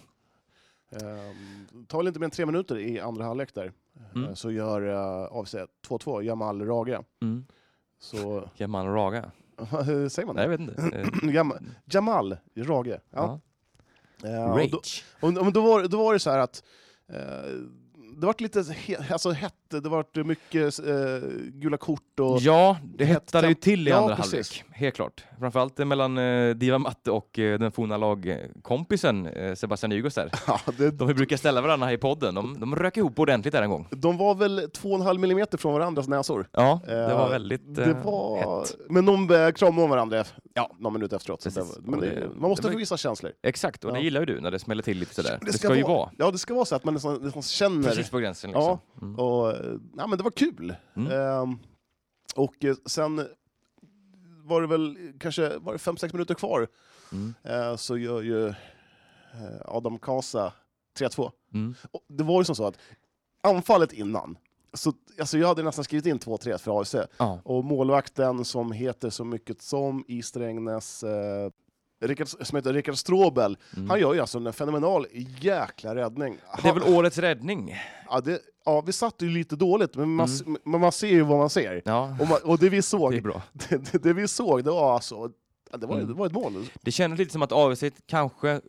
S3: ehm, tar väl inte mer än tre minuter i andra halvlek där,
S1: Mm.
S3: eh, så gör eh, AFC 2-2, Jamal Raga.
S1: Mm.
S3: Så, [laughs]
S1: Jamal och Raga?
S3: hur säger man
S1: Nej, jag
S3: det?
S1: vet inte.
S3: [clears throat]
S1: Eh,
S3: Jam- Jamal Rage. Ja.
S1: ja.
S3: Eh, och då-
S1: Rage.
S3: Och, men då, var, då var det så här att eh, det vart lite he, alltså, hett, det vart mycket eh, gula kort och...
S1: Ja, det
S3: Hett
S1: hettade ju
S3: temp-
S1: till i
S3: Ja,
S1: andra
S3: precis.
S1: halvlek. Helt klart. Framförallt eh, mellan eh, Diva Matte och eh, den forna lagkompisen eh, Sebastian
S3: [laughs]
S1: Nygårds där.
S3: [laughs] Ja, det,
S1: De vi brukar ställa varandra här i podden, de, de rök ihop ordentligt där en gång.
S3: de var väl 2,5 millimeter från varandras näsor.
S1: Ja, det
S3: Eh,
S1: var väldigt
S3: det
S1: eh,
S3: var...
S1: hett.
S3: Men de eh, kramade om varandra
S1: Ja.
S3: någon minut efteråt. Så det,
S1: Precis.
S3: var- men
S1: Och
S3: det,
S1: det-
S3: man måste
S1: det var-
S3: få vissa känslor.
S1: Exakt, och det
S3: Ja.
S1: gillar ju du när det smäller till lite sådär. Det ska, ju vara
S3: Ja, det ska vara så att man nästan, nästan känner...
S1: precis på gränsen. Liksom.
S3: Ja, och eh, ja, men det var kul.
S1: Mm.
S3: Ehm, och eh, sen var det väl kanske var det fem, sex minuter kvar
S1: Mm.
S3: eh, så gör ju eh, Adam Kasa 3-2.
S1: Mm.
S3: Och det var ju som så att anfallet innan, så, alltså jag hade nästan skrivit in 2-3 för AIC.
S1: Ja.
S3: Och målvakten som heter så mycket som i Strängnäs, eh, Rickard, som heter Rickard Stråbel,
S1: Mm.
S3: han gör ju alltså en fenomenal jäkla räddning.
S1: Det är
S3: Han-
S1: väl årets räddning?
S3: Ja, det, ja, vi satt ju lite dåligt, men man, men man ser ju vad man ser.
S1: Ja,
S3: Och, man, och det vi
S1: Mm. det är
S3: såg,
S1: bra.
S3: det, [laughs] det, det vi såg, det var alltså... ja, Det var,
S1: Mm.
S3: det var ett mål.
S1: Det kändes lite som att AFC kanske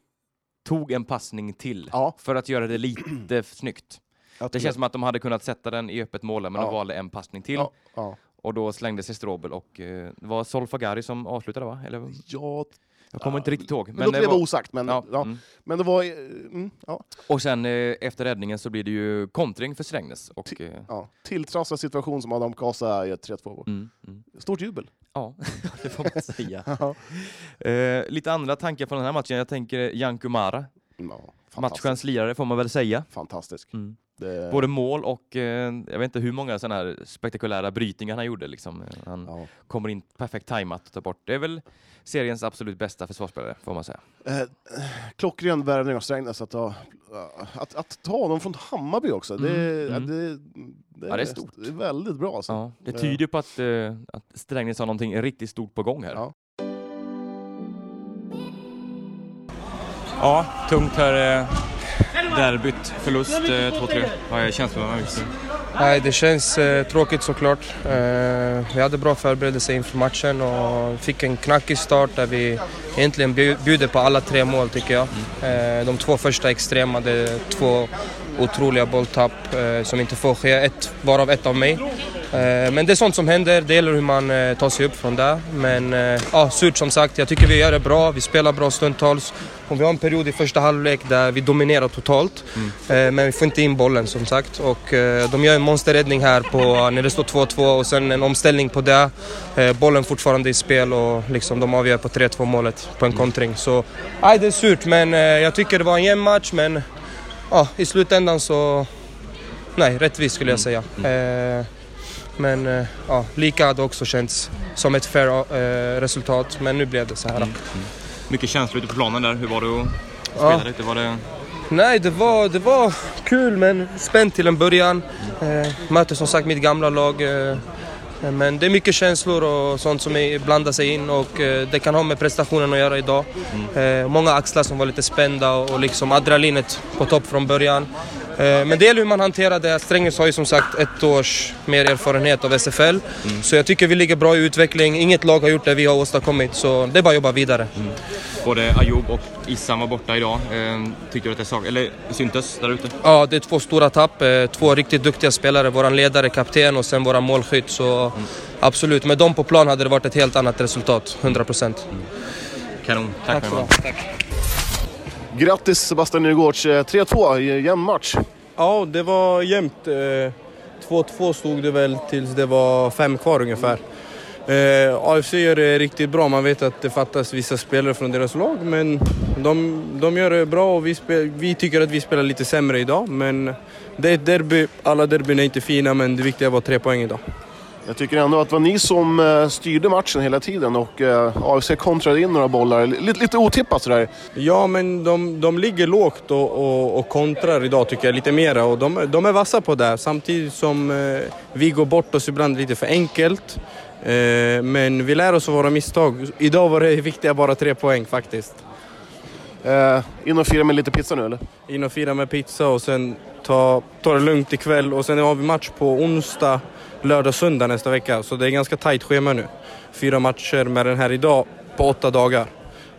S1: tog en passning till
S3: Ja.
S1: för att göra det lite [clears throat] snyggt. Det känns som att de hade kunnat sätta den i öppet mål, där, men de
S3: Ja.
S1: valde en passning till.
S3: Ja, ja.
S1: Och då slängde sig Strobel och eh, det var Solfagari som avslutade va? Eller,
S3: ja
S1: jag kommer inte riktigt ihåg.
S3: men låt det vara osagt, men,
S1: ja,
S3: ja.
S1: mm.
S3: men det var... eh, Mm, ja,
S1: Och sen eh, efter räddningen så blir det ju kontring för Strängnäs. Och, eh,
S3: ja. Tilltrasslad situation som Adam Kasa gör 3-2 på.
S1: mm, mm.
S3: Stort jubel.
S1: Ja, det får man [laughs] säga.
S3: Ja.
S1: Eh, lite andra tankar från den här matchen. Jag tänker Janko Mara,
S3: Ja, fantastisk.
S1: matchens lirare får man väl säga.
S3: fantastisk.
S1: Mm.
S3: Det,
S1: Både mål och eh, jag vet inte hur många sådana här spektakulära brytningar han gjorde. Liksom. Han
S3: ja.
S1: kommer in perfekt tajmat och tar bort. Det är väl seriens absolut bästa försvarsspelare får man säga.
S3: Eh, klockren värvning av Strängnäs att ta, att, att ta honom från Hammarby också. Det,
S1: Mm, mm.
S3: ja, det,
S1: Ja, det är stort.
S3: Det är väldigt bra. Alltså.
S1: Ja, det
S3: Ja.
S1: tyder ju på att, eh, att Strängnäs har någonting riktigt stort på gång här.
S3: Ja.
S9: Ja, tungt här. eh, Derbyt, förlust eh, 2-3. Vad är känslan just nu?
S10: Nej, det känns eh, tråkigt såklart. Eh, vi hade bra förberedelse inför matchen och fick en knackig start där vi egentligen bju- bjuder på alla tre mål tycker jag. Eh, de två första extrema, det är två otroliga bolltapp eh, som inte får ske, ett, varav ett av mig. Eh, men det är sånt som händer, det gäller hur man eh, tar sig upp från där. Men eh, ja, surt som sagt, jag tycker vi gör det bra, vi spelar bra stundtals. Och vi har en period i första halvlek där vi dominerar totalt, eh, men vi får inte in bollen som sagt. Och, eh, de gör en monsterräddning här på, när det står 2-2 och sen en omställning på det. Eh, bollen fortfarande i spel och liksom, de avgör på 3-2 målet på en kontring. Så nej, det är surt, men eh, jag tycker det var en jämn match, men ja, i slutändan så... Nej, rättvis skulle jag säga. Eh, men eh, ja, lika hade också känts som ett fair eh, resultat, men nu blev det så här. då.
S9: Mycket känslor ute på planen där. Hur var det att
S10: Ja.
S9: spela lite? Var det...
S10: Nej, det var, det var kul men spänt till en början. Eh, möter som sagt mitt gamla lag. Eh, men det är mycket känslor och sånt som är- blandar sig in och eh, det kan ha med prestationen att göra idag. Eh, många axlar som var lite spända och, och liksom adrenalinet på topp från början. Eh, men det gäller hur man hanterar det. Strängnäs har ju som sagt ett års mer erfarenhet av SFL. Så jag tycker vi ligger bra i utveckling. Inget lag har gjort det vi har åstadkommit så det är bara att jobba vidare.
S9: Både Ayoub och Issam var borta idag. Eh, tyckte du att det sak... Eller syntes där ute?
S10: Ja, det är två stora tapp. eh, Två riktigt duktiga spelare. Vår ledare, kapten och sen våra målskytt. Så absolut, med dem på plan hade det varit ett helt annat resultat. 100 procent.
S9: Kanon. Tack, för det.
S3: Grattis Sebastian Nygårds, eh, 3-2, eh, jämn match.
S11: Ja, det var jämnt. Eh, 2-2 stod det väl tills det var fem kvar ungefär. Eh, AFC gör det riktigt bra. Man vet att det fattas vissa spelare från deras lag, men de, de gör det bra och vi, spe, vi tycker att vi spelar lite sämre idag. Men det är ett derby. Alla derbyn är inte fina, men det viktiga var tre poäng idag.
S3: Jag tycker ändå att det var ni som eh, styrde matchen hela tiden och eh, AFC kontrade in några bollar. Lite, lite otippat sådär.
S11: Ja, men de, de ligger lågt och, och, och kontrar idag tycker jag lite mera och de, de är vassa på det. här. Samtidigt som eh, vi går bort oss ibland lite för enkelt. Eh, men vi lär oss av våra misstag. Idag var det viktiga bara tre poäng faktiskt.
S3: Eh, in och fira med lite pizza nu eller?
S11: In och fira med pizza och sen ta, ta det lugnt ikväll och sen har vi match på onsdag, lördag, söndag nästa vecka. Så det är ganska tajt schema nu. Fyra matcher med den här idag på åtta dagar.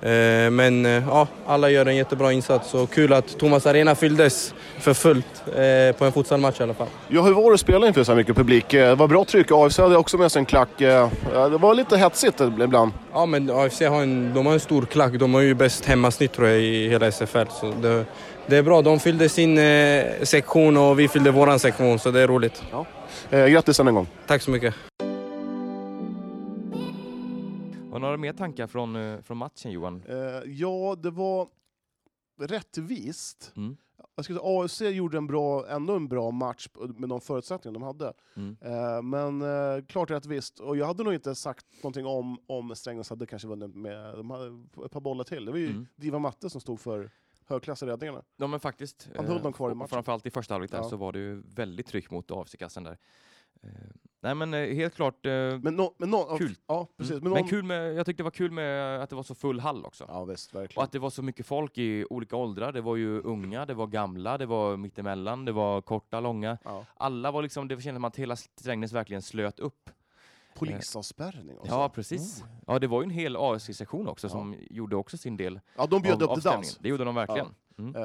S11: Eh, Men eh, ja, alla gör en jättebra insats och kul att Thomas Arena fylldes för fullt eh, på en futsalmatch i alla fall.
S3: Ja, hur var det att spela inför så här mycket publik? Eh, Det var bra tryck. AFC hade också med sig en klack. Eh, ja, Det var lite hetsigt ibland.
S11: Ja, men AFC har en, de har en stor klack. De har ju bäst hemmasnitt tror jag i hela SFL. Så det, det är bra. De fyllde sin eh, sektion och vi fyllde våran sektion, så det är roligt. Ja.
S3: Eh, Grattis än en gång.
S11: Tack så mycket.
S1: Har du några mer tankar från, eh, från matchen Johan?
S3: Eh, ja, det var rättvist.
S1: Mm.
S3: Jag skulle säga, AFC gjorde en bra, ändå en bra match med de förutsättningar de hade.
S1: Mm.
S3: Eh, men eh, klart rättvist. Och jag hade nog inte sagt någonting om, om Strängnäs hade kanske vunnit med de hade ett par bollar till. Det var ju
S1: Mm.
S3: Diva Matte som stod för högklassiga räddningarna.
S1: Ja men faktiskt.
S3: Han höll
S1: eh,
S3: dem kvar i
S1: och
S3: matchen.
S1: Framförallt i första halvlek där
S3: Ja.
S1: så var det ju väldigt tryck mot AFC-kassen där. Eh, Nej men eh, helt klart eh,
S3: Men, nå- men nå-
S1: kul.
S3: Ja, precis.
S1: Mm.
S3: Men
S1: Men,
S3: någon-
S1: kul med, jag tyckte det var kul med eh, att det var så full hall också.
S3: Ja, visst, verkligen.
S1: Och att det var så mycket folk i olika åldrar. Det var ju unga, det var gamla, det var mittemellan, det var korta, långa. Alla var liksom, det kändes som att hela Strängnäs verkligen slöt upp.
S3: Polisavspärrning också.
S1: Ja,
S3: oh.
S1: precis. Ja, det var ju en hel AFC-sektion också som gjorde också sin del.
S3: Ja, de bjöd
S1: av-
S3: upp
S1: av
S3: till dans.
S1: stämningen. Det gjorde de verkligen.
S3: Ja.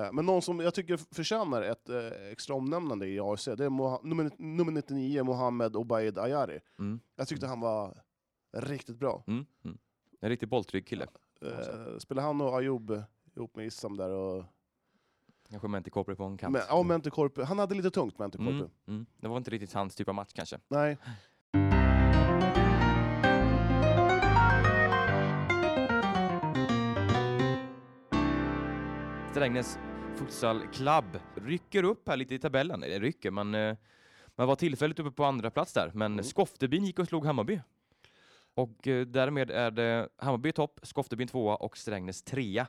S3: Eh, Men någon som jag tycker förtjänar ett eh, extra omnämnande i AFC, det är Moha- nummer, nummer 99, Mohamed Obaid Ayari.
S1: Mm.
S3: Jag tyckte han var riktigt bra.
S1: Mm. Mm. En riktigt bolltrygg kille.
S3: Eh, spelar han och Ayoub ihop med Issam där och...
S1: Kanske Menti Korpi på en kant.
S3: Men, ja, Mente Korpi. Han hade lite tungt, Mente Korpi.
S1: Mm, mm. Det var inte riktigt hans typ av match kanske.
S3: Nej.
S1: Strängnäs Futsal Club rycker upp här lite i tabellen. Eller rycker, men eh, man var tillfälligt uppe på andra plats där. Men
S3: Mm.
S1: Skoftebyn gick och slog Hammarby. Och eh, därmed är det Hammarby i topp, Skoftebyn tvåa och Strängnäs trea.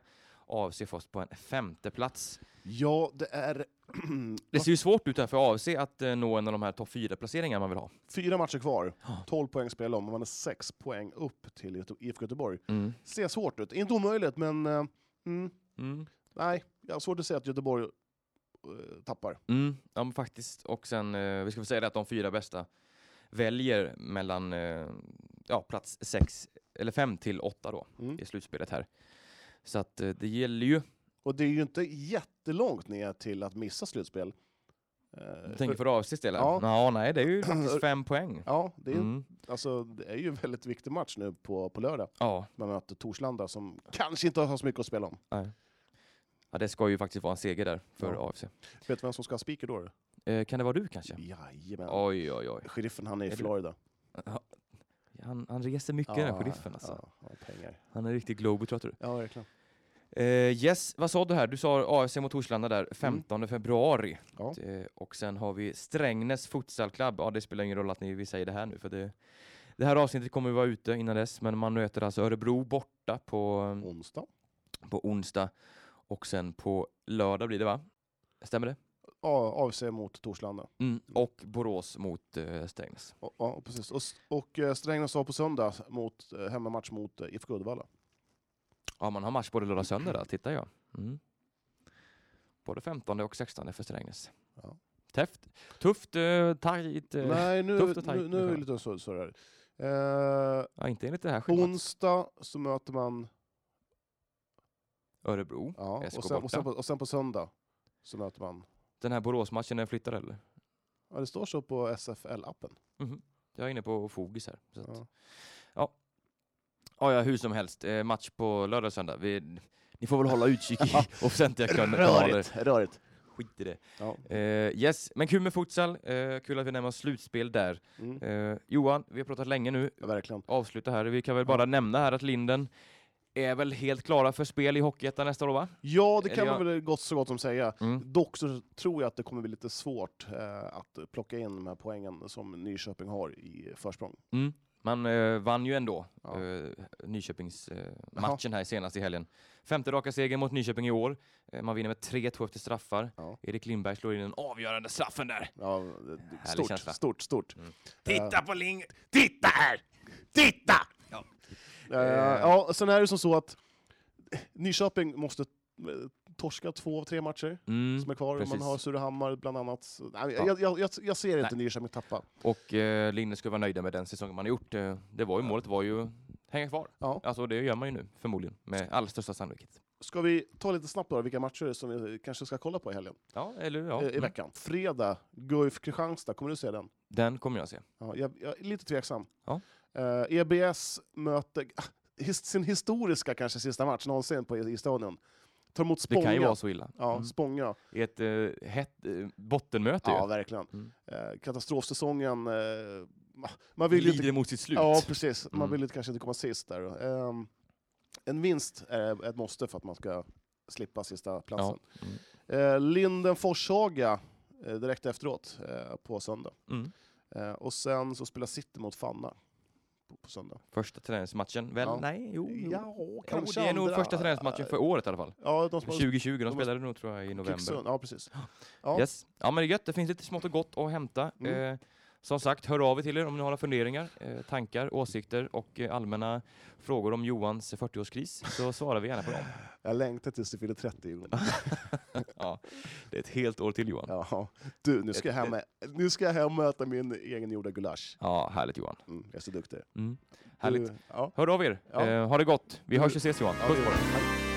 S1: AFC först på en femte plats.
S3: Ja, det är... [clears throat]
S1: Det ser ju svårt ut här för AFC att eh, nå en av de här topp fyra placeringarna man vill ha.
S3: Fyra matcher kvar, 12 poäng spel om, och man är 6 poäng upp till Göte- IFK Göteborg.
S1: Mm.
S3: Ser svårt ut. Inte omöjligt, men... eh, Mm,
S1: Mm.
S3: Nej, jag har svårt att säga att Göteborg eh, tappar.
S1: Mm, ja men faktiskt. Och sen, eh, vi ska väl säga det att de fyra bästa väljer mellan eh, ja, plats sex eller fem till åtta då
S3: Mm.
S1: i slutspelet här. Så att eh, det gäller ju,
S3: Och det är ju inte jättelångt ner till att missa slutspel. Eh,
S1: jag tänker för AFCs del här.
S3: Ja.
S1: Ja, nej det är
S3: [clears throat]
S1: ju faktiskt fem poäng.
S3: Ja, det är,
S1: Mm.
S3: alltså, det är ju en väldigt viktig match nu på, på lördag.
S1: Ja.
S3: Man möter Torslanda som kanske inte har så mycket att spela om.
S1: Nej. Ja, det ska ju faktiskt vara en seger där för
S3: Ja.
S1: AFC.
S3: Vet du vem som ska ha speaker då?
S1: Eh, kan det vara du kanske?
S3: Jajamän.
S1: Oj, oj, oj.
S3: Sheriffen han är i
S1: Är det-
S3: Florida.
S1: Ja, Han, han reser mycket den här sheriffen alltså.
S3: Ja, ja, pengar.
S1: Han är riktigt globetrotter.
S3: Ja, verkligen.
S1: Eh, yes, vad sa du här? Du sa AFC mot Torslanda där 15 februari.
S3: Mm. Ja.
S1: Eh, och sen har vi Strängnäs futsalklubb. Ja, det spelar ingen roll att ni vi säger det här nu för det, det här avsnittet kommer vara ute innan dess. Men man möter alltså Örebro borta på eh,
S3: onsdag.
S1: På onsdag. Och sen på lördag blir det va? Stämmer det?
S3: Ja, AFC mot Torslanda.
S1: Mm. Och Borås mot eh, Strängnäs.
S3: Ja, Ja, precis. Och, s- och eh, Strängnäs har på söndag mot, eh, hemmamatch mot eh, IFK Uddevalla.
S1: Ja, man har match både lördag och
S3: [laughs]
S1: söndag där, tittar jag. Mm. Både 15 och 16 för Strängnäs.
S3: Ja.
S1: Tufft, tufft, eh, tajt. eh,
S3: Nej, nu,
S1: tufft och tajt.
S3: nu, nu är det lite så, så där. Eh,
S1: Ja, inte enligt det här schemat.
S3: onsdag så möter man...
S1: Örebro,
S3: Ja,
S1: SK
S3: och, sen, och,
S1: borta.
S3: sen på, och sen på söndag så möter man...
S1: Den här Boråsmatchen, den flyttar eller?
S3: Ja, det står så på SFL-appen.
S1: Mhm. Jag är inne på Fogis här. Så att, ja. Ja. ja, hur som helst. Eh, match på lördag och söndag. Vi, ni får väl hålla utkik i [laughs] offentliga
S3: Rörigt, rörigt.
S1: Skit i det.
S3: Ja.
S1: Eh, yes, men kul med futsal. Eh, kul att vi närmar oss slutspel där.
S3: Mm.
S1: Eh, Johan, vi har pratat länge nu.
S3: verkligen.
S1: Avsluta här. Vi kan väl bara nämna här att Linden är väl helt klara för spel i Hockeyettan nästa år, va?
S3: Ja, det
S1: Eller
S3: kan
S1: jag- Mm.
S3: man väl gott så gott som säga. Dock så tror jag att det kommer bli lite svårt eh, att plocka in de här poängen som Nyköping har i försprång.
S1: Mm. Man eh, vann ju ändå eh, Nyköpingsmatchen eh, matchen här senast i helgen. Femte raka seger mot Nyköping i år. Eh, man vinner med 3-2 efter straffar. Erik Lindberg slår in den avgörande straffen där.
S3: Ja, eh, stort, stort, stort.
S1: Mm. Titta på Ling... Titta här! Titta! Ja.
S3: Eh, ja, sen är det som så att Nyköping måste eh, torska två av tre matcher
S1: Mm,
S3: som är kvar.
S1: precis.
S3: Man har Surahammar bland annat. Så- Nej,
S1: Ja.
S3: jag, jag, jag, jag ser inte
S1: Nej.
S3: Nyköping tappa.
S1: Och eh, Linden skulle vara nöjda med den säsongen man har gjort. Eh, Det var ju, målet var ju hänga kvar.
S3: Ja.
S1: Alltså det gör man ju nu förmodligen med allra största sannolikhet.
S3: Ska vi ta lite snabbt då, vilka matcher som vi kanske ska kolla på i helgen? Eh,
S1: Ja, eller ja.
S3: I,
S1: Mm.
S3: veckan. Fredag, Guif Kristianstad, kommer du se den?
S1: Den kommer jag se.
S3: Ja, jag, jag är lite tveksam.
S1: Ja.
S3: Eh, EBS möter ah, his, sin historiska kanske sista match någonsin på, i, i stadion. Tar emot
S1: Det
S3: Spånga.
S1: kan ju vara så illa.
S3: Ja,
S1: Mm.
S3: Spånga.
S1: I ett eh, hett eh, bottenmöte
S3: Ja,
S1: ju.
S3: verkligen.
S1: Mm.
S3: Eh, katastrofsäsongen. Eh, man vill ju
S1: Lider mot sitt slut.
S3: Ja, precis. Man
S1: Mm.
S3: vill ju kanske inte komma sist där. Ehm, en vinst är ett måste för att man ska slippa sista platsen.
S1: Mm.
S3: Eh, Linden-Forshaga eh, direkt efteråt eh, på söndag.
S1: Mm.
S3: Eh, och sen så spelar City mot Fanna på, på söndag.
S1: Första träningsmatchen, väl?
S3: Ja.
S1: Nej, jo. jo.
S3: Ja, kanske
S1: jo, det är nog
S3: andra.
S1: första träningsmatchen för året i alla fall.
S3: Ja, de som-
S1: 2020, de
S3: de-
S1: spelade nog tror jag i november.
S3: Kvicksund, Ja, precis. Ja.
S1: Yes. Ja men det är gött, det finns lite smått och gott att hämta.
S3: Mm.
S1: Eh, som sagt, hör av er till er om ni har några funderingar, eh, tankar, åsikter och eh, allmänna frågor om Johans 40-årskris
S3: [laughs]
S1: så svarar vi gärna på dem.
S3: Jag längtar tills du fyller 30 Jon.
S1: ja, det är ett helt år till Johan.
S3: Ja. Du, nu ska, jag hem, nu ska jag hem och möta min egengjorda gulasch.
S1: Ja, härligt Johan.
S3: Mm, jag är så duktig.
S1: Mm. Härligt.
S3: Du, ja.
S1: Hör av er.
S3: Ja.
S1: Eh, ha det gott. Vi hörs och ses Johan.
S3: Ja,
S1: Puss
S3: det
S1: på
S3: gör
S1: dig.
S3: vi. Hej.